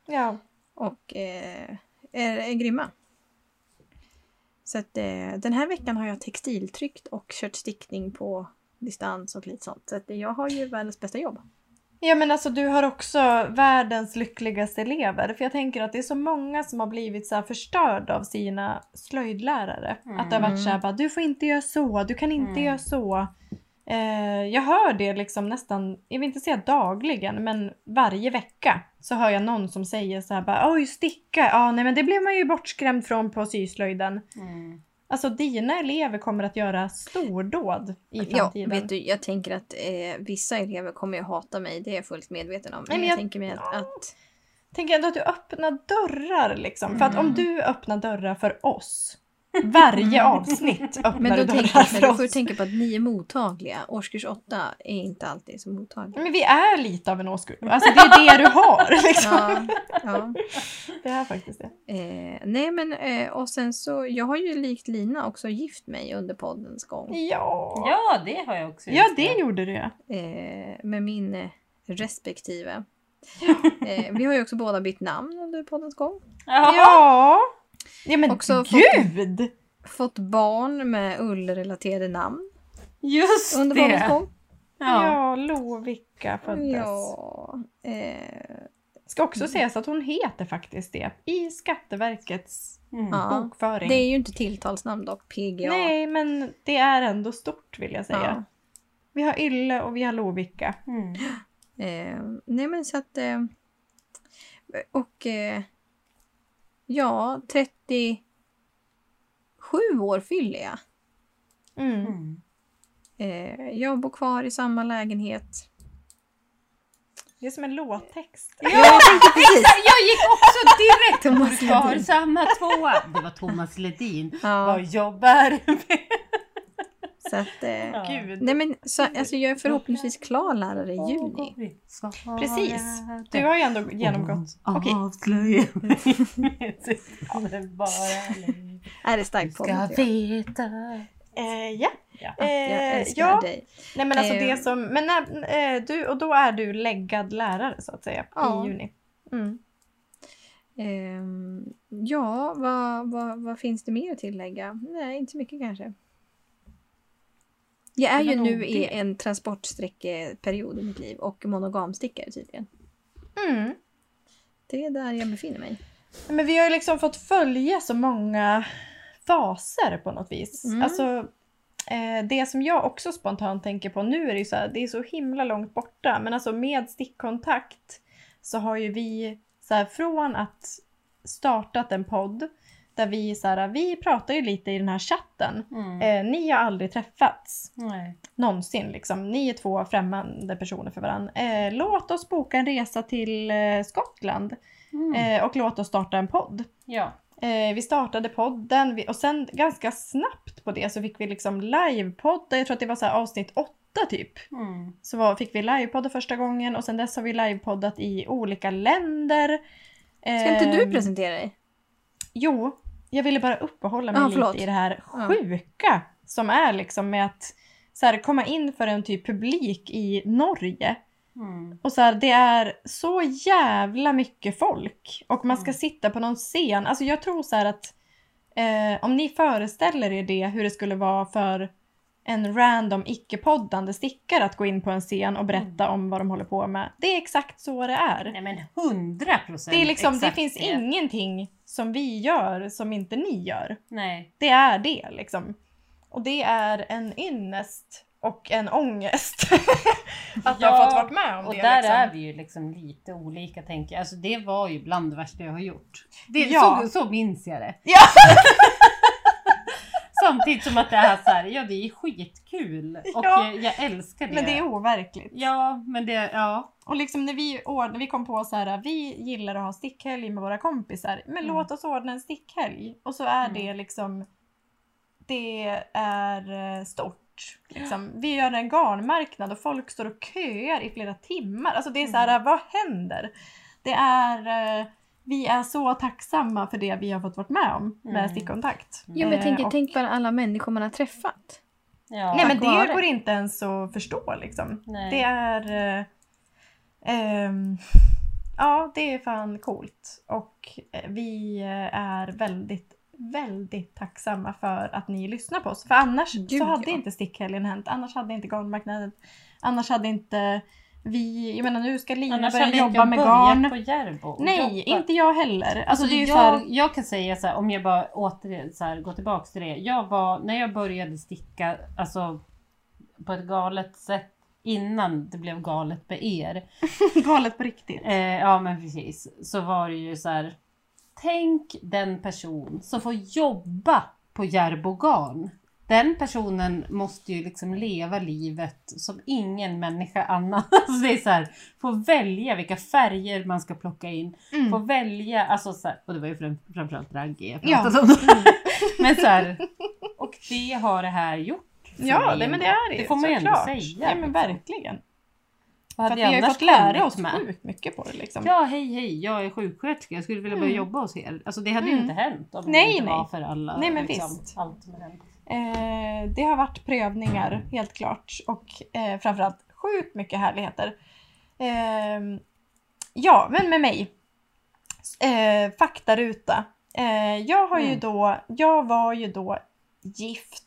Ja.
och eh, är, är grymma. Så att eh, den här veckan har jag textiltryckt och kört stickning på distans och lite sånt. Så att jag har ju världens bästa jobb.
ja, men alltså du har också världens lyckligaste elever. För jag tänker att det är så många som har blivit så här förstörda av sina slöjdlärare.
Mm.
Att det har varit så här, bara, du får inte göra så, du kan inte
Mm.
göra så. Eh, jag hör det liksom nästan, jag vill inte säga dagligen, men varje vecka så hör jag någon som säger så här bara oj sticka, ja nej men det blev man ju bortskrämd från på syslöjden.
Mm.
Alltså dina elever kommer att göra stordåd i
Ja,
framtiden.
vet du, jag tänker att eh, vissa elever kommer ju hata mig, det är jag fullt medveten om.
Nej,
Men
men
jag,
jag-
tänker mig att, att
Tänk ändå att du öppnar dörrar liksom. För att om
Mm.
du öppnar dörrar för oss, varje
Mm.
avsnitt öppnar
men då
du
tänker
dörrar
jag, men
för
då
oss.
får du tänka på att ni är mottagliga. Årskurs 8 är inte alltid så
*laughs*
mottagliga.
Men vi är lite av en årskull. Alltså det är det du har liksom.
Mm. *laughs* Ja, ja.
Det är faktiskt det.
Eh, nej men eh, och sen så, jag har ju likt Lina också gift mig under poddens gång.
Ja.
Ja, det har jag också
Ja,
gjort.
det gjorde du ja.
Eh, med min eh, respektive. Eh, vi har ju också båda bytt namn under poddens gång.
Ja.
Ja. Ja men
Också fått-
gud!
Fått barn med ullrelaterade namn
Just
under poddens
det!
gång.
Ja,
Ja.
Lovikka föddes.
Ja. Eh,
Ska också sägas att hon heter faktiskt det i Skatteverkets
Mm.
ja.
bokföring.
Det är ju inte tilltalsnamn dock, PGA.
Nej, men det är ändå stort vill jag säga.
Ja.
Vi har Ylle och vi har Lovikka.
Mm.
Eh, nej men så att... Eh, och... Eh, ja, 37 år fyller jag.
Mm.
Mm.
Eh, jag bor kvar i samma lägenhet.
Det är som en låttext.
Ja, jag tänkte precis!
Jag gick också direkt
Thomas
på kvar
Ledin.
samma tvåa. Det var Thomas Ledin.
Ja,
Vad jobbar med?
så att, eh,
Ja.
Gud.
nej men, så, alltså, jag är förhoppningsvis klar lärare i juni.
Precis. Du har ju ändå genomgått. Okej.
*laughs* Avslöja mig. Bara ni
Är det starkt på
ska
mig?
veta.
Eh, ja.
Ja.
Ja, jag
Eh,
älskar
ja.
dig.
Nej men alltså
Eh.
det som, men när, eh, du, och då är du läggad lärare så att säga
Ja.
i juni. Mm.
Ehm, ja, vad, vad, vad finns det mer att tillägga? Nej, inte så mycket kanske. Jag är
Det var
ju
nog
nu i
det.
en transportsträckeperiod i mitt liv och monogamstickare tydligen.
Mm.
Det är där jag befinner mig.
Men vi har ju liksom fått följa så många faser på något vis.
Mm.
Alltså, eh, det som jag också spontant tänker på nu är det ju så här, det är så himla långt borta, men alltså med stickkontakt så har ju vi så här, från att startat en podd där vi så här, vi pratar ju lite i den här chatten.
Mm.
Eh, ni har aldrig träffats.
Nej.
någonsin. Liksom. Ni är två främmande personer för varandra. Eh, låt oss boka en resa till eh, Skottland
Mm.
eh, och låt oss starta en podd.
Ja.
Eh, vi startade podden vi, och sen ganska snabbt på det så fick vi liksom livepodda. Jag tror att det var så här avsnitt åtta typ.
Mm.
Så var, fick vi livepodda första gången och sen dess har vi livepoddat i olika länder.
Ska inte du
Ehm,
presentera dig?
Jo, jag ville bara uppehålla mig
Ja, förlåt.
lite i det här
Ja.
sjuka som är liksom med att så här, komma in för en typ publik i Norge.
Mm.
Och så här, det är så jävla mycket folk och man ska
Mm.
sitta på någon scen. Alltså jag tror så här att eh, om ni föreställer er det hur det skulle vara för en random icke-poddande stickare att gå in på en scen och berätta
Mm.
om vad de håller på med. Det är exakt så det är.
Nej men hundra procent
Det, är liksom, det finns ingenting som vi gör som inte ni gör.
Nej.
Det är det liksom. Och det är en ynnest och en ångest. *laughs* att jag
Ja,
fått varit med om
Och
det.
där
liksom.
är vi ju liksom lite olika tänker jag. Alltså det var ju bland det värsta jag har gjort. Det,
Ja.
så, så minns jag det.
Ja.
*laughs* Samtidigt som att det är så här, ja det är skitkul och
Ja.
jag, jag älskar det.
Men det är overkligt.
Ja, men det, ja.
Och liksom när vi, ord- när vi kom på så här, "Äh, vi gillar att ha stickhelg med våra kompisar. Men
Mm.
låt oss ordna en stickhelg. Och så är
Mm.
det liksom, det är eh, stort. Liksom. Vi gör en garnmarknad och folk står och köar i flera timmar. Alltså det är så här, vad händer? Det är, eh, vi är så tacksamma för det vi har fått vara med om med
Mm.
stickkontakt.
Ja, men jag
Eh,
tänker,
och-
tänk på alla människor man har träffat.
ja.
Nej men
Tack vare.
det går inte ens att förstå liksom.
Nej.
Det är... Eh, ehm, ja, det är fan coolt. Och eh, vi eh, är väldigt, väldigt tacksamma för att ni lyssnar på oss. För annars
Gud,
så hade
ja.
inte stickhelgen hänt. Annars hade inte garnmarknaden... Annars hade inte vi... Jag menar nu ska Lina
Annars
börja
hade inte
jobba
jag
med
börjat
garn.
på Järbo. och
Nej,
jobbat.
inte jag heller. Alltså,
Alltså,
det är ju
jag,
så här,
jag kan säga så här, om jag bara åter, så här, går tillbaka till det. Jag var, när jag började sticka alltså, på ett galet sätt innan det blev galet med er.
*laughs* galet på riktigt.
Eh, ja men precis. Så var det ju så här. Tänk den person som får jobba på Järbogarn. Den personen måste ju liksom leva livet som ingen människa annan. *laughs* Alltså det är så här, få välja vilka färger man ska plocka in.
Mm.
Få välja, alltså så här, och det var ju fram, framförallt raggi jag
Ja.
pratade om. då. *laughs* Men så här, och det har det här gjort. för
Ja,
mig
det, men det
ändå.
är det ju,
Det får man ju ändå
såklart.
säga. liksom.
Ja, men verkligen.
Vad
För att
hade
vi
jag
har ju
annars
fått lära
kommit
oss sjukt mycket på det liksom.
Ja, hej hej, jag är sjuksköterska, jag skulle vilja börja jobba hos er. Alltså det hade ju
Mm.
inte hänt om det
Nej,
inte var
nej.
för alla. liksom,
Nej, men visst.
Allt som har hänt.
Eh, det har varit prövningar helt klart och eh, framförallt sjukt mycket härligheter. Eh, ja, men med mig. Eh, faktaruta. Eh, jag har ju
Mm.
då, jag var ju då gift.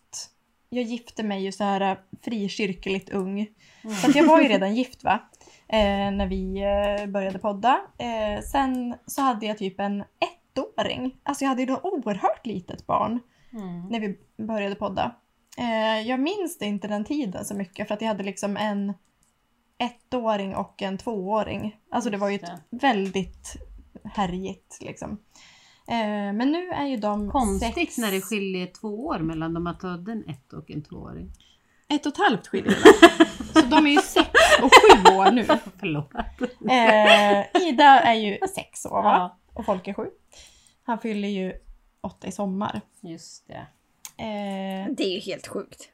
Jag gifte mig ju så här eh, frikyrkligt ung.
Mm.
Så att jag var ju redan gift va? Eh, när vi eh, började podda. Eh, sen så hade jag typ en ettåring. Alltså jag hade ju då oerhört litet barn
Mm.
när vi började podda. Eh, jag minns det inte den tiden så mycket för att jag hade liksom en ettåring och en tvååring. Alltså det var ju
Just
ett väldigt härjigt liksom. Eh, men nu är ju de
Konstigt
sex...
när det skiljer två år mellan de att födde en ett och en tvååring.
Ett och ett halvt skiljer det. *laughs* Så de är ju sex och sju år nu.
Förlåt.
Eh, Ida är ju sex år va?
Ja,
Och folk är sju. Han fyller ju åtta i sommar.
just det.
Eh,
Det är ju helt sjukt.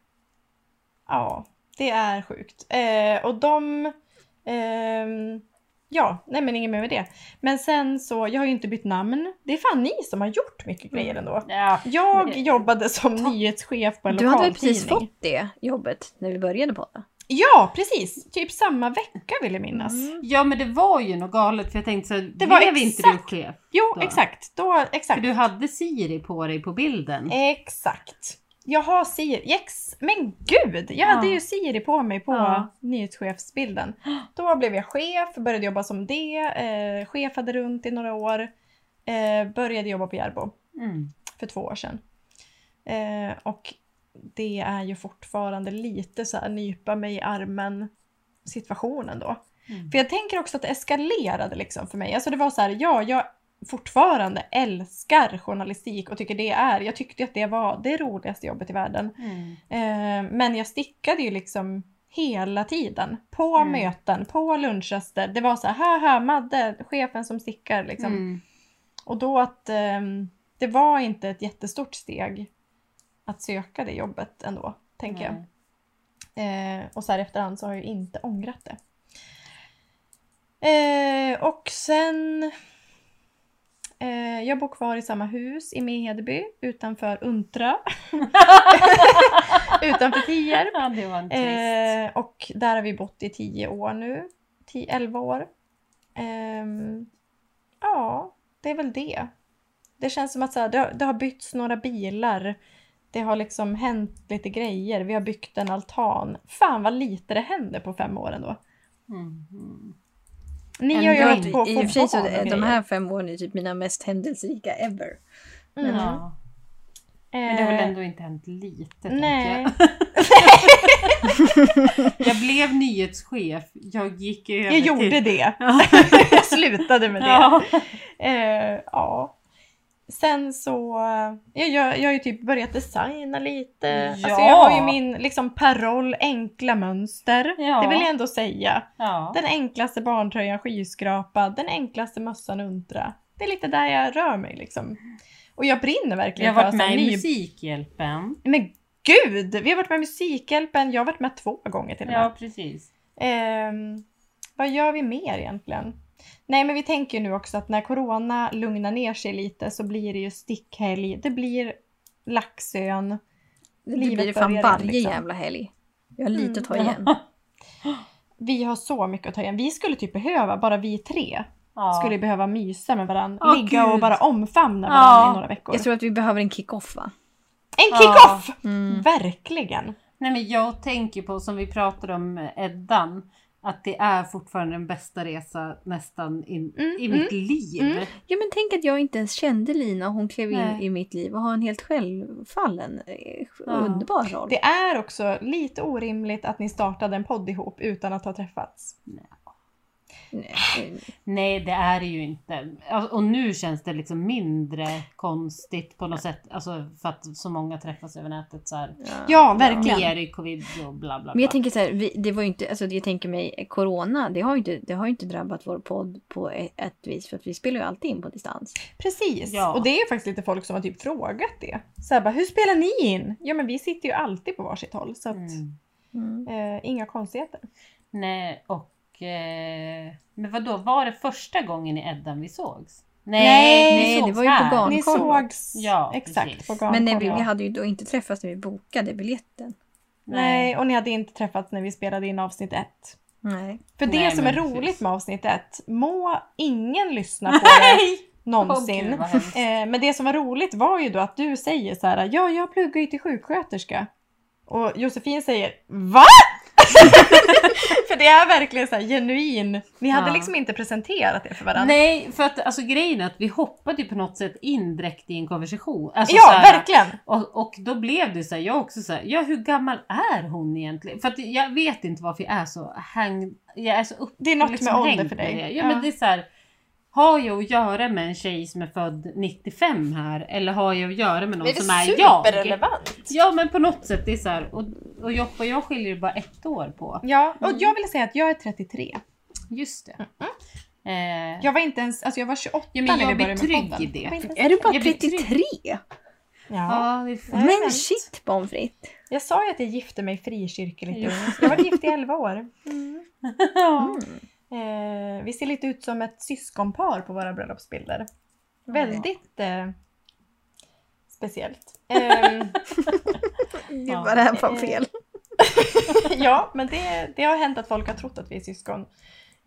Ja, det är sjukt. Eh, och de... ehm, ja, nej men inget mer med det. Men sen så, jag har ju inte bytt namn. Det är fan ni som har gjort mycket grejer ändå.
Ja.
Jag
Mm. Men det-
jobbade som nyhetschef på en
Du hade väl
lokaltidning.
precis fått det jobbet när vi började podda?
Ja, precis! Typ samma vecka vill jag minnas.
Mm.
ja men det var ju något galet för jag tänkte så här,
Det var
blev inte du
exakt-
chef?
Jo,
Då.
exakt. Då,
För
exakt.
du hade Siri på dig på bilden.
Eh, Exakt. Jag har Siri. Yes. Men gud! Jag hade
Ja.
ju Siri på mig på
Ja.
nyhetschefsbilden. Då blev jag chef, började jobba som det, eh, chefade runt i några år. Eh, började jobba på Järbo
Mm.
för två år sedan. Eh, och det är ju fortfarande lite så här nypa mig i armen situationen då.
Mm.
För jag tänker också att det eskalerade liksom för mig. Alltså det var så här, ja, jag fortfarande älskar journalistik och tycker det är, jag tyckte att det var det roligaste jobbet i världen.
Mm.
Eh, men jag stickade ju liksom hela tiden. På
Mm.
möten, på lunchraster. Det var så här, haha Madde, chefen som stickar liksom.
Mm.
Och då att ehm, det var inte ett jättestort steg att söka det jobbet ändå, tänker jag.
Nej.
Eh, och så här efterhand så har jag ju inte ångrat det. Eh, och sen... Eh, jag bor kvar i samma hus i Mehedeby utanför Untra. *laughs* utanför Tierp.
Ja, det var en twist.
Eh, och där har vi bott i 10 år nu. 10-11 år. Ehm, ja, det är väl det. Det känns som att så här, det, har, det har bytts några bilar. Det har liksom hänt lite grejer. Vi har byggt en altan. Fan vad lite det händer på fem år ändå.
Mm. Mm.
Ni
Ändå
har ju
inte-
hållit på
I och för sig så
barn och
är de
grejer.
här fem åren är typ mina mest händelserika ever.
Mm.
Ja. Men det har
Eh,
väl ändå inte hänt lite, *laughs* tänker
Nej.
jag. Jag *laughs* blev nyhetschef. Jag gick över
Jag gjorde
till...
det.
*laughs*
*laughs*
Ja.
jag slutade med det.
Ja.
Eh, ja. Sen så, eh, jag, jag, jag har ju typ börjat designa lite. Alltså
Ja.
jag har ju min liksom paroll enkla mönster.
Ja.
Det vill jag ändå säga.
Ja.
Den enklaste barntröjan skyskrapa, den enklaste mössan untra. Det är lite där jag rör mig liksom. Och jag brinner
Jag har
verkligen
varit
så här
med i
ny-
Musikhjälpen.
Men gud! Vi har varit med i Musikhjälpen, jag har varit med två gånger till och med.
Ja, precis.
Ehm, vad gör vi mer egentligen? Nej men vi tänker ju nu också att när corona lugnar ner sig lite så blir det ju stickhelg. Det blir Laxön.
Det
Livet
blir det fan
börjar
varje
igen, liksom.
jävla helg. Jag har lite
Mm.
att ta igen.
Vi har så mycket att ta igen. Vi skulle typ behöva, bara vi tre,
Ja.
skulle behöva mysa med varandra.
Åh,
ligga och
gud.
bara omfamna varandra
Ja.
i några veckor.
Jag tror att vi behöver en kick-off va?
En kick-off!
Mm.
Verkligen!
Nej, men jag tänker på, som vi pratade om eh, Eddan, att det är fortfarande den bästa resa nästan in,
Mm,
i
mm,
mitt liv.
mm.
Ja men tänk att jag inte ens kände Lina och hon klev in
Nej.
i mitt liv och har en helt självfallen eh,
Ja.
underbar roll.
Det är också lite orimligt att ni startade en podd ihop utan att ha träffats.
Nej.
Nej, det är det ju inte. Alltså, Och nu känns det liksom mindre konstigt på något sätt. Alltså för att så många träffas över nätet så här.
Ja, verkligen.
Mer i covid och bla bla
Men
bla.
jag tänker så här, vi, det var ju inte, alltså jag tänker mig corona, det har ju inte, det har ju inte drabbat vår podd på ett, ett vis för att vi spelar ju alltid in på distans.
Precis,
Ja.
och det är faktiskt lite folk som har typ frågat det. Så här bara, hur spelar ni in? Ja men vi sitter ju alltid på varsitt håll så att,
Mm.
eh, inga konstigheter.
Nej, och... Eh, men vadå, var det första gången i Eddan vi sågs?
Nej,
vi
nej, det
sågs
var ju på
här.
gatan.
Ni
Garnkollo.
sågs
Ja,
exakt
precis.
på Garnkollo.
Men nej, vi, vi hade ju då inte träffats när vi bokade biljetten.
Nej, och ni hade inte träffats när vi spelade in avsnitt ett.
Nej.
För det
Nej,
som är
men
roligt
precis.
med avsnitt ett, må ingen lyssna
*laughs*
på det
Åh,
någonsin.
gud, vad
*laughs*
hemskt.
Eh, men det som var roligt var ju då att du säger så här, ja jag pluggar ju till sjuksköterska. Och Josefin säger, VA? *laughs* för det är verkligen så här genuin. Ni hade
Ja.
liksom inte presenterat det för varandra.
Nej, för att alltså, grejen är att vi hoppade ju på något sätt in direkt i en konversation. Alltså, så
ja,
här,
verkligen.
Och, och då blev det så här, jag också så här, ja hur gammal är hon egentligen? För att jag vet inte varför jag är så häng, jag är så upp,
Det är något
liksom
med ålder
hängd
för
med
dig.
det. Ja, men det är så här, har jag att göra med en tjej som är född 95 här eller har jag att göra med någon som är jag?
superrelevant.
Ja men på något sätt, det är så här, och, och Joppa och jag skiljer ju bara ett år på.
Ja,
Mm.
och jag vill säga att jag är 33.
Just det. Eh,
Jag var inte ens, alltså jag var 28
Ja, men
när
jag
vi
blir
började
trygg
med podden.
i det.
Jag var inte ens-
Är du bara
Jag blir
33?
Ja.
ja, det är
*laughs* Ja, jag
Men
vet.
shit pommes frites.
Jag sa ju att jag gifte mig frikyrkligt.
Ja.
Jag var gift i 11 år.
Mm.
Ja.
Eh, vi ser lite ut som ett syskonpar på våra bröllopsbilder.
Ja.
Väldigt eh, speciellt. Ehm, *laughs*
Gud
Ja.
vad det här var
Eh,
fel.
ja, men det, det har hänt att folk har trott att vi är syskon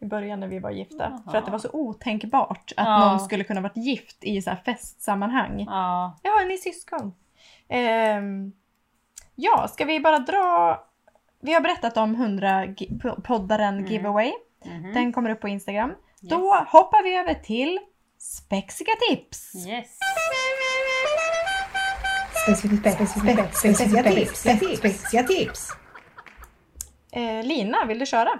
i början när vi var gifta.
Jaha.
För att det var så otänkbart att
Ja.
någon skulle kunna varit gift i så här festsammanhang.
*laughs* ja.
Ja, ni är syskon. Ehm, ja, ska vi bara dra... Vi har berättat om 100-poddaren
Mm.
giveaway.
Mhm.
Den kommer upp på Instagram.
Yes.
Då hoppar vi över till spexiga tips.
Yes.
Specifica tips. Specifica tips.
Eh, Lina, vill du köra?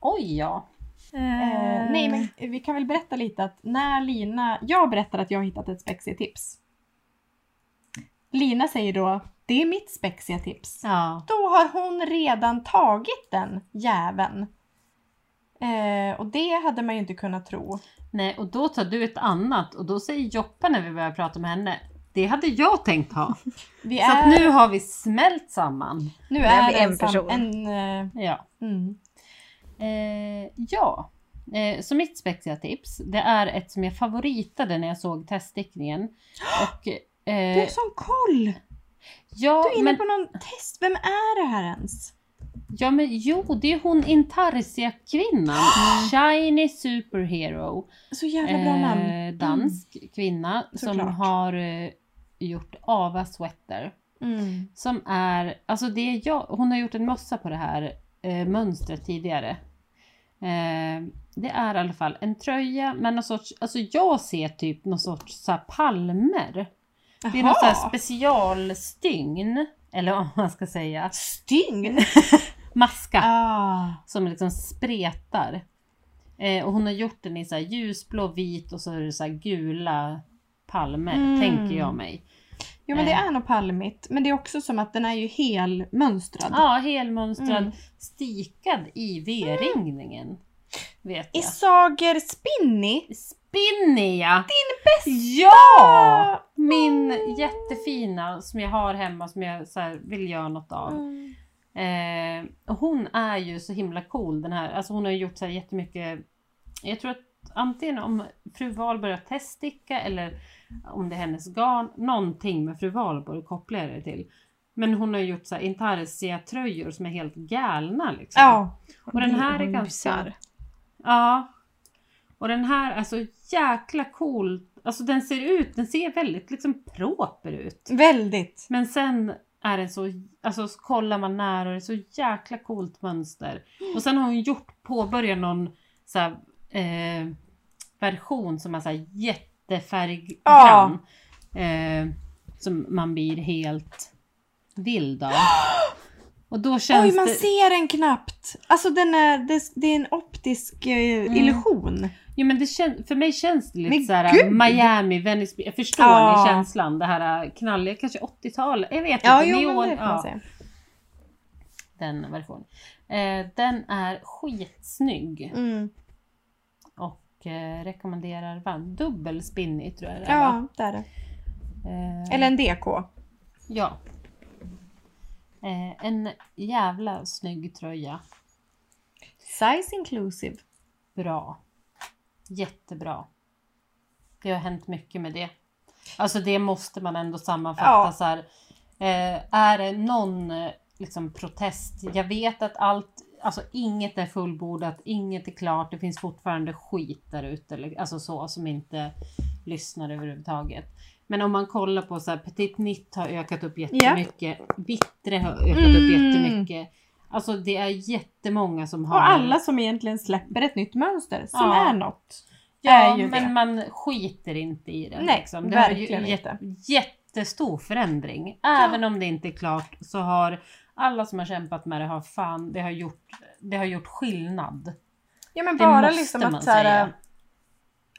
Oj ja.
Eh, nej, men vi kan väl berätta lite att när Lina... Jag berättar att jag har hittat ett spexigt tips. Lina säger då, det är mitt spexiga tips.
Ja.
Då har hon redan tagit den jäveln. Eh, och det hade man ju inte kunnat tro.
Nej, och då tar du ett annat och då säger Joppa när vi börjar prata med henne. Det hade jag tänkt ha.
Vi
Så att
är,
nu har vi smält samman.
nu
är
är
vi en
en, sam-
person.
en eh,
Ja.
mm.
Eh, ja. Eh, så mitt spexiga tips, det är ett som jag favoritade när jag såg
*gasps*
teststickningen. Och,
Du har
eh,
sån koll!
ja,
Du är inne
men,
på någon test. Vem är det här ens?
ja, men jo, det är hon
*gasps*
Intarsia-kvinnan. Shiny Superhero.
Så Mm. jävla bra namn. Mm.
Eh, dansk kvinna som
Såklart.
har eh, gjort Ava Sweater.
Mm.
Som är, alltså det är jag, hon har gjort en mössa på det här eh, mönstret tidigare. Eh, det är i alla fall en tröja men någon sorts, alltså jag ser typ någon sorts så här, palmer. Det är något så här
Jaha.
specialstygn, eller vad man ska säga,
*laughs* Stygn!
maska
Ah.
som liksom spretar. Eh, och hon har gjort den i så här ljusblå, vit och så är det så här gula palmer,
Mm.
tänker jag mig.
Jo men det
Eh.
är nog palmigt. Men det är också som att den är ju helmönstrad.
Ja, helmönstrad,
Mm.
stikad i V-ringningen. Vet
I
jag.
Sager Spinny?
Spinner jag!
Bästa!
Ja! Min jättefina som jag har hemma som jag så här vill göra något av.
Mm.
Eh, och hon är ju så himla cool den här. Alltså hon har ju gjort så här jättemycket. Jag tror att antingen om fru Wahlberg har teststicka eller om det är hennes garn. Någonting med fru Wahlberg kopplar jag det till. Men hon har ju gjort så här intarsia-tröjor som är helt galna liksom.
Ja.
och den här är
Hon
ganska...
busar.
Ja. Och den här är så jäkla cool. Alltså den ser ut, den ser väldigt liksom proper ut.
Väldigt.
Men sen är den så, alltså så kollar man nära och det är så jäkla coolt mönster. Och sen har hon gjort, påbörjat någon så här, eh, version som är så här jättefärggrann. Eh, som man blir helt vild av. Och då känns
Oj, man
det...
ser den knappt! Alltså den är, det, det är en optisk eh,
Mm.
illusion.
Ja, men det kän- för mig känns det
Men
lite så här
gud!
Miami, Venice Beach. Jag förstår
Ja.
ni känslan. Det här äh, knalliga, kanske 80-tal. Jag vet
Ja,
inte.
jo,
neon,
men det får man
ja,
säga.
den versionen. Eh, den är skitsnygg.
Mm.
Och eh, rekommenderar varmt. Dubbel spinnig tror jag det är, va?
Ja, det är det.
eh,
Eller en DK.
Ja. Eh, en jävla snygg tröja.
Size inclusive.
Bra. Jättebra. Det har hänt mycket med det. Alltså det måste man ändå sammanfatta
Ja.
så här. Eh, är det någon eh, liksom, protest? Jag vet att allt, alltså inget är fullbordat, inget är klart, det finns fortfarande skit där ute, eller- alltså så som inte lyssnar överhuvudtaget. Men om man kollar på så här, Petit Nitt har ökat upp jättemycket, Vittre har ökat upp
Mm.
jättemycket. Alltså det är jättemånga som har...
Och alla som egentligen släpper ett nytt mönster som
Ja.
är något.
ja,
är ju
men
det.
man skiter inte i det.
Nej,
liksom. Det var ju
verkligen
jät-
inte.
jättestor förändring. Även om det inte är klart så har alla som har kämpat med det har fan, det har gjort, det har gjort skillnad.
Ja men
Det
bara
måste
liksom
man
att, så här,
säga.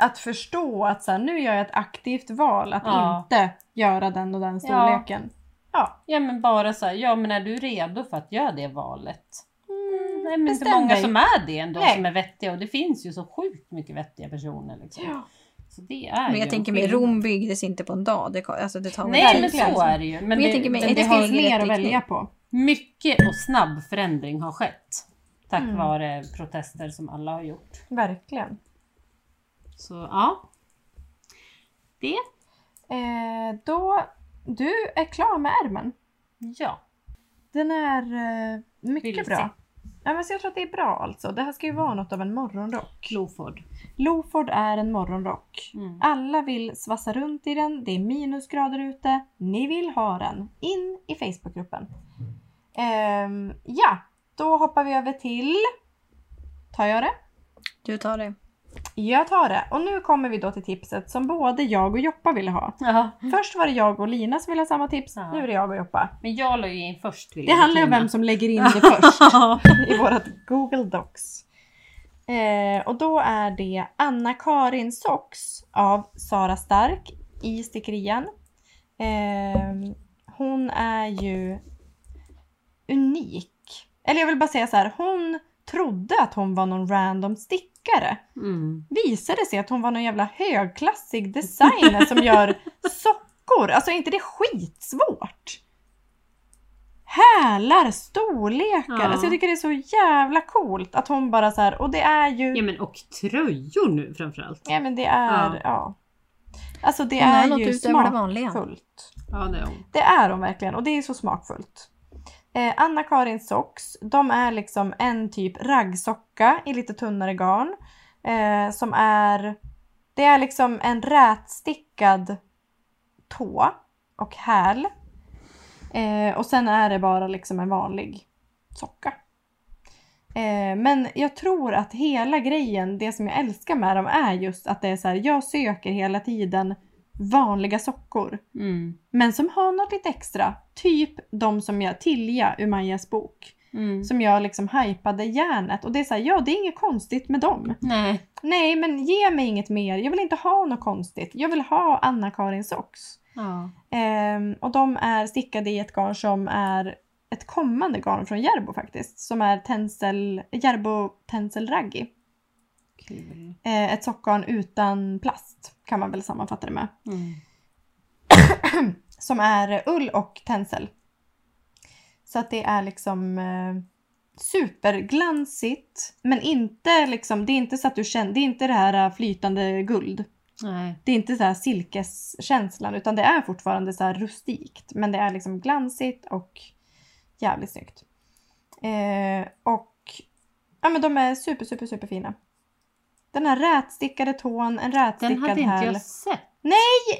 att förstå att så här, nu gör jag ett aktivt val att
Ja.
inte göra den och den storleken. Ja,
Ja men bara så här, ja men är du redo för att göra det valet? Mm, nej, men inte
bestäm
många
dig.
som är det ändå
Nej.
som är vettiga och det finns ju så sjukt mycket vettiga personer. Liksom.
Ja.
Så det är
Men
ju
jag
en
tänker mig,
skillnad.
Rom byggdes inte på en dag. Det, ko- alltså, det tar väl
Nej
tid.
men så
Verkligen.
är det ju. Men,
Men jag
det,
tänker mig,
men
är
det,
det
det
har
finns
helt
mer
rätt
att välja
riktning.
på.
mycket och snabb förändring har skett. Tack
Mm.
vare protester som alla har gjort.
Verkligen.
Så ja. Det,
Eh, då, du är klar med ärmen.
ja.
Den är eh, mycket
Vilse.
bra. Ja, men så jag tror att det är bra alltså. Det här ska ju vara något av en morgonrock.
Kloford.
Loford är en morgonrock.
Mm.
Alla vill svassa runt i den, det är minusgrader ute. Ni vill ha den. In i Facebookgruppen. Ehm, ja, då hoppar vi över till... Tar jag det?
Du tar det.
Jag tar det. Och nu kommer vi då till tipset som både jag och Joppa ville ha.
Jaha.
Först var det jag och Lina som ville ha samma tips,
Ja.
nu är det jag och Joppa.
Men jag la ju in först. vill
Det
jag
handlar ju om
betona.
vem som lägger in det först
*laughs*
*laughs* i vårt Google Docs. Eh, och då är det Anna-Karin Sox av Sara Stark i stickerian. Eh, hon är ju unik. Eller jag vill bara säga så här, hon trodde att hon var någon random stickare.
Mm.
Visade sig att hon var någon jävla högklassig designer som gör sockor. Alltså är inte det skitsvårt? Hälar, storlekar.
Ja.
Alltså jag tycker det är så jävla coolt att hon bara så här, och det är ju...
Ja men och tröjor nu framförallt.
Ja men det är,
Ja.
ja. Alltså det
Hon har
är
nått
ju
ut över det vanliga.
smakfullt.
Ja det är hon.
Det är de verkligen och det är så smakfullt. Eh, Anna-Karin Socks, de är liksom en typ raggsocka i lite tunnare garn. Eh, som är, det är liksom en rätstickad tå och häl. Eh, och sen är det bara liksom en vanlig socka. Eh, men jag tror att hela grejen, det som jag älskar med dem är just att det är så här, jag söker hela tiden vanliga sockor.
Mm.
Men som har något lite extra. Typ de som jag Tilja ur Majas bok.
Mm.
Som jag liksom hypade järnet. Och det är såhär, ja det är inget konstigt med dem.
Nej.
Nej men ge mig inget mer. Jag vill inte ha något konstigt. Jag vill ha Anna-Karin Socks.
Ja.
Ehm, och de är stickade i ett garn som är ett kommande garn från Järbo faktiskt. Som är tencel, Järbo Tencel Raggi.
Kul.
Ehm, ett sockgarn utan plast kan man väl sammanfatta det med.
Mm.
som är ull och tencel. Så att det är liksom eh, superglansigt men inte liksom, det är inte så att du känner, det är inte det här eh, flytande guld.
Nej.
Det är inte så här silkeskänslan utan det är fortfarande så här rustikt men det är liksom glansigt och jävligt snyggt. Eh, och ja men de är super super super fina. Den här rätstickade tån, en
Den
rätstickad
hade inte
häl.
jag sett.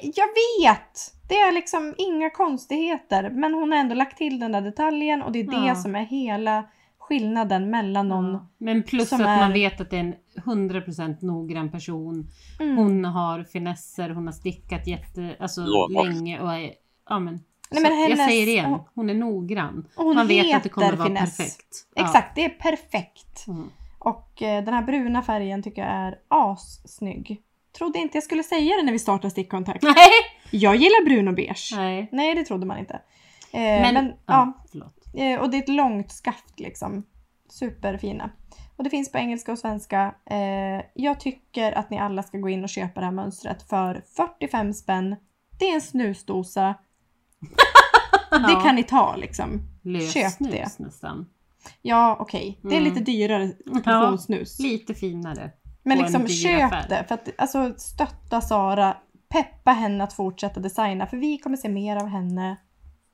Jag vet! Det är liksom inga konstigheter. Men hon har ändå lagt till den där detaljen och det är
Ja.
det som är hela skillnaden mellan någon...
Ja. Men plus
som
att man
är-
vet att det är en 100% noggrann person.
Mm.
Hon har finesser, hon har stickat jätte, alltså,
Lånbart.
länge och är, ja, men,
Nej,
så
men hennes-
Jag säger det igen,
hon-
hon är noggrann.
Och hon
Man vet
heter
att det kommer vara
finess.
perfekt.
Exakt, det är perfekt.
Ja. Mm. *laughs*
Och eh, den här bruna färgen tycker jag är assnygg. Trodde inte jag skulle säga det när vi startade stickkontakt.
Nej!
Jag gillar brun och beige. Nej,
Nej.
det trodde man inte. Eh,
Men,
men,
ja,
ja.
förlåt.
Eh, Och det är ett långt skaft liksom. Superfina. Och det finns på engelska och svenska. Eh, jag tycker att ni alla ska gå in och köpa det här mönstret för 45 spänn. Det är en snusdosa. *laughs* Det kan ni ta liksom.
Lös
köp
snus
det.
nästan.
Ja, okej. Det är
Mm.
lite dyrare
Ja,
portionssnus.
lite finare.
Men
på en
liksom
dyr
köp
affär.
det. För att alltså, stötta Sara. Peppa henne att fortsätta designa. För vi kommer se mer av henne.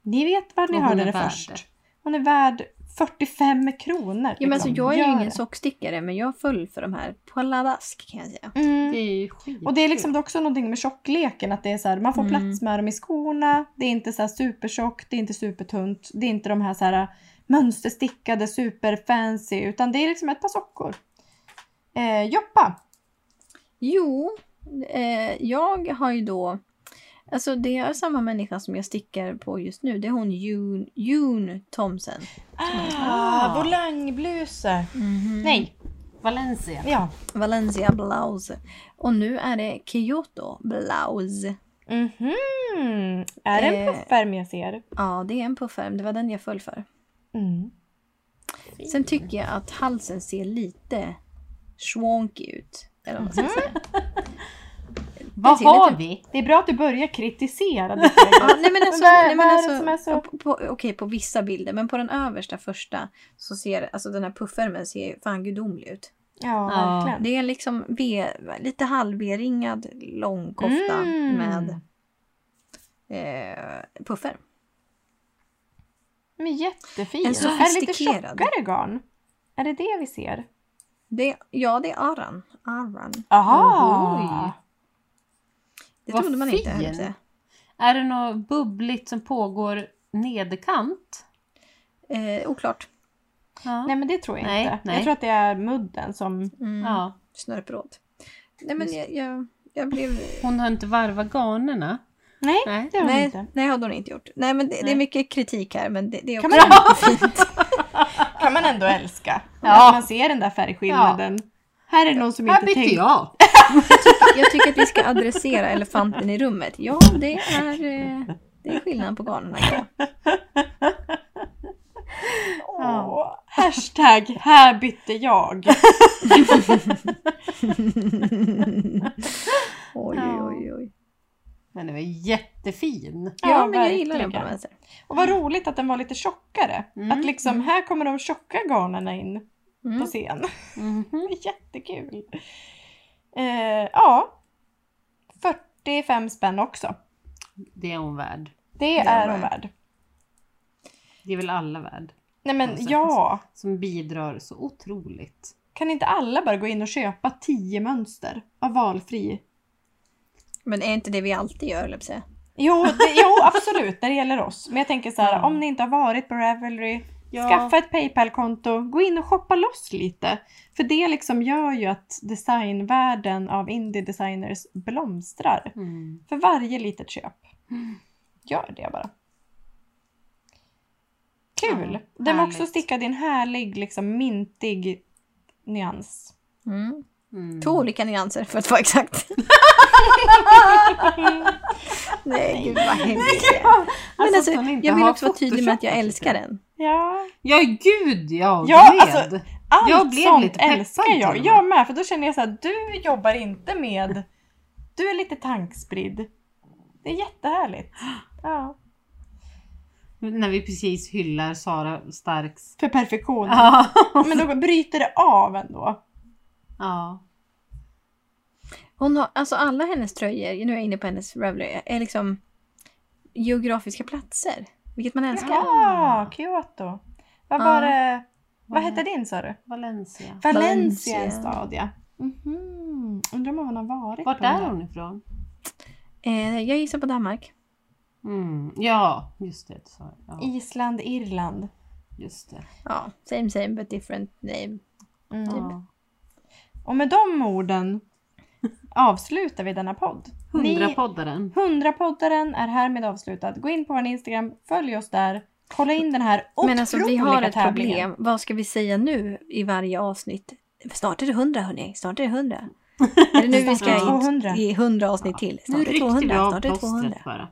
Ni vet var ni
Och hon
hörde
är
det
värd
först.
det.
Hon är värd 45 kronor.
Ja, men alltså,
liksom.
jag är
Gör
ju ingen
det.
sockstickare men jag föll för de här Poladask kan jag säga.
Mm.
Det är ju skitkul.
Och det är liksom också någonting med tjockleken, att det är så här, man får
Mm.
plats med dem i skorna, det är inte så här supertjockt, det är inte supertunt, det är inte de här så här mönsterstickade superfancy utan det är liksom ett par sockor. Eh, Joppa!
Jo, eh, jag har ju då... Alltså det är samma människa som jag stickar på just nu. Det är hon June, June Thomsen.
Ah, volangbluse! Nej,
Mm. Valencia.
ja.
Valencia Blouse. Och nu är det Kyoto Blouse.
Mhm. Är det en
Eh.
puffärm jag ser?
Ja, det är en puffärm. Det var den jag föll för.
Mm.
Sen tycker jag att halsen ser lite swanky ut. Eller vad man ska
*laughs*
säga.
Vad
ser lite-
har vi?
Det är bra att Mhm. du börjar kritisera lite.
*laughs* Ja, nej men alltså,
Vad är-
nej, men
vad är
alltså,
det som är så-
på- på, okej, på vissa bilder, men på den översta första så ser alltså den här puffärmen ser ju fan gudomlig ut.
ja,
Ja.
verkligen.
Det är liksom v, lite halv-V-ringad lång kofta
Mm.
med eh, puffer.
Men jättefin.
En
Är det lite
sofistikerad.
tjockare garn? Är det det vi ser?
Det, ja, det är aran. aran.
Aha!
Det
Vad
trodde man inte. höll jag på
fin.
att säga.
Är det något bubbligt som pågår nederkant?
Eh, oklart.
Ja.
Nej men det tror jag
Nej,
inte.
nej.
Jag tror att det är mudden som...
Mm.
ja.
Snörpråd. Nej, men jag, jag, jag blev...
Hon har inte varvat garnerna.
Nej,
Nej.
det har hon
Nej,
inte.
nej, hade hon inte gjort. Nej, men det, det
Nej.
är mycket kritik här, men det, det är också
Kan man, kan man ändå älska. Att man ser den där färgskillnaden. Här är det någon som
Här
inte
bytte
tänker.
jag!
*laughs* Jag tycker att vi ska adressera elefanten i rummet. Ja, det är, eh, det är skillnad på garnen. ja.
Åh, hashtag här bytte jag.
Oj,
Ja.
oj, oj.
Men den var jättefin!
Ja,
Ja,
men jag gillar den på
verkligen.
den vänster.
Och vad roligt att den var lite tjockare.
Mm.
Att liksom här kommer de tjocka garnerna in
Mm.
på scen. *laughs*
Mhm.
Jättekul. Eh, ja. 45 spänn också.
Det är hon värd.
Det
är
är
hon
hon värd.
Det är väl alla värd.
Nej men
Alltså,
ja.
Som bidrar så otroligt.
Kan inte alla bara gå in och köpa 10 mönster av valfri?
Men är inte det vi alltid gör, eller säga.
Jo, det, jo absolut när det gäller oss. Men jag tänker så här,
Ja.
om ni inte har varit på Ravelry,
Ja.
skaffa ett Paypal-konto, gå in och shoppa loss lite. För det liksom gör ju att designvärlden av indie designers blomstrar.
Mm.
För varje litet köp. Gör det bara. Kul!
Ja,
Den var också
härligt.
stickad i en härlig, liksom mintig nyans.
Mm.
Mm.
Två olika nyanser för att vara exakt. Nej, gud vad hemskt. Men alltså,
att hon inte
jag vill
har
också vara tydlig med att jag
photoshopat
älskar
det.
den.
Ja,
Ja, gud ja!
Ja,
Gud.
alltså, allt
Jag blev
sånt
lite peppad
älskar
till och
jag.
med.
Jag med, för då känner jag så här, du jobbar inte med... Du är lite tankspridd. Det är jättehärligt. Ja.
När vi precis hyllar Sara Starks...
För perfektion.
Ja.
Men då bryter det av ändå.
ja.
Hon har, alltså alla hennes tröjor, nu är jag inne på hennes Ravelry, är liksom geografiska platser. Vilket man älskar.
Ja, Kyoto. Vad
Ja.
var det... Vad hette din sa du?
Valencia.
Valencia är en
Valencia.
stad ja. Mhm. Undrar om hon har varit
Vart
på den
är
där.
hon ifrån?
Eh, jag gissar på Danmark.
Mm. Ja, just det. Så, ja,
Island, Irland.
just det.
Ja, same same but different name.
Ja.
Typ. Och med de orden avslutar vi denna podd. Ni-
Hundrapoddaren.
100-poddaren är härmed avslutad. Gå in på vår Instagram, följ oss där. Kolla in den här otroliga
Men alltså vi har ett
tävlingen.
problem. Vad ska vi säga nu i varje avsnitt? Snart är det 100 hörni, snart är det 100. Är det nu vi ska
Snart är det
in
200.
i 100 avsnitt till?
Nu
Snart är det
ryckte vi
200,
av
snart är det 200.
plåstret bara.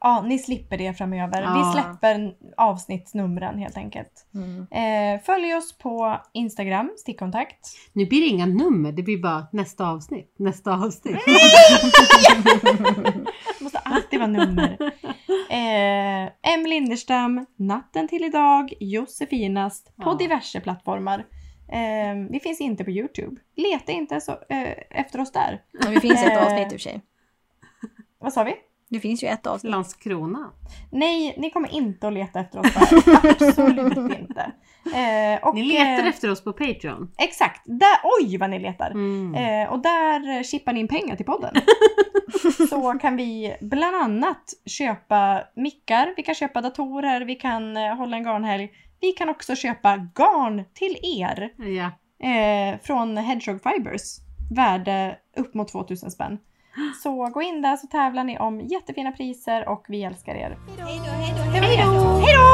Ja, ni slipper det framöver.
Ja.
Vi släpper avsnittsnumren helt enkelt.
Mm.
Eh, följ oss på Instagram, stickkontakt.
Nu blir det inga nummer, det blir bara nästa avsnitt. Nästa avsnitt.
Det måste alltid
*laughs*
vara nummer. Eh, M Linderstam, Natten till idag, Josefinast på
Ja.
diverse plattformar. Eh, vi finns inte på Youtube. Leta inte så, eh, efter oss där.
Men det
*laughs*
finns ett
Eh.
avsnitt i och för sig.
Vad sa vi?
Det finns ju ett avsnitt.
Landskrona.
Nej, ni kommer inte att leta efter oss där.
*laughs*
Absolut inte. Eh, och,
Ni letar
eh,
efter oss på Patreon.
Exakt! Där, oj vad ni letar!
Mm.
Eh, och där eh, chippar ni in pengar
*laughs*
till podden. så kan vi bland annat köpa mickar, vi kan köpa datorer, vi kan eh, hålla en garnhelg. Vi kan också köpa garn till er
Ja.
eh, från Hedgehog Fibers. Värde upp mot 2000 *gasps* spänn. Så gå in där så tävlar ni om jättefina priser och vi älskar er. Hej då!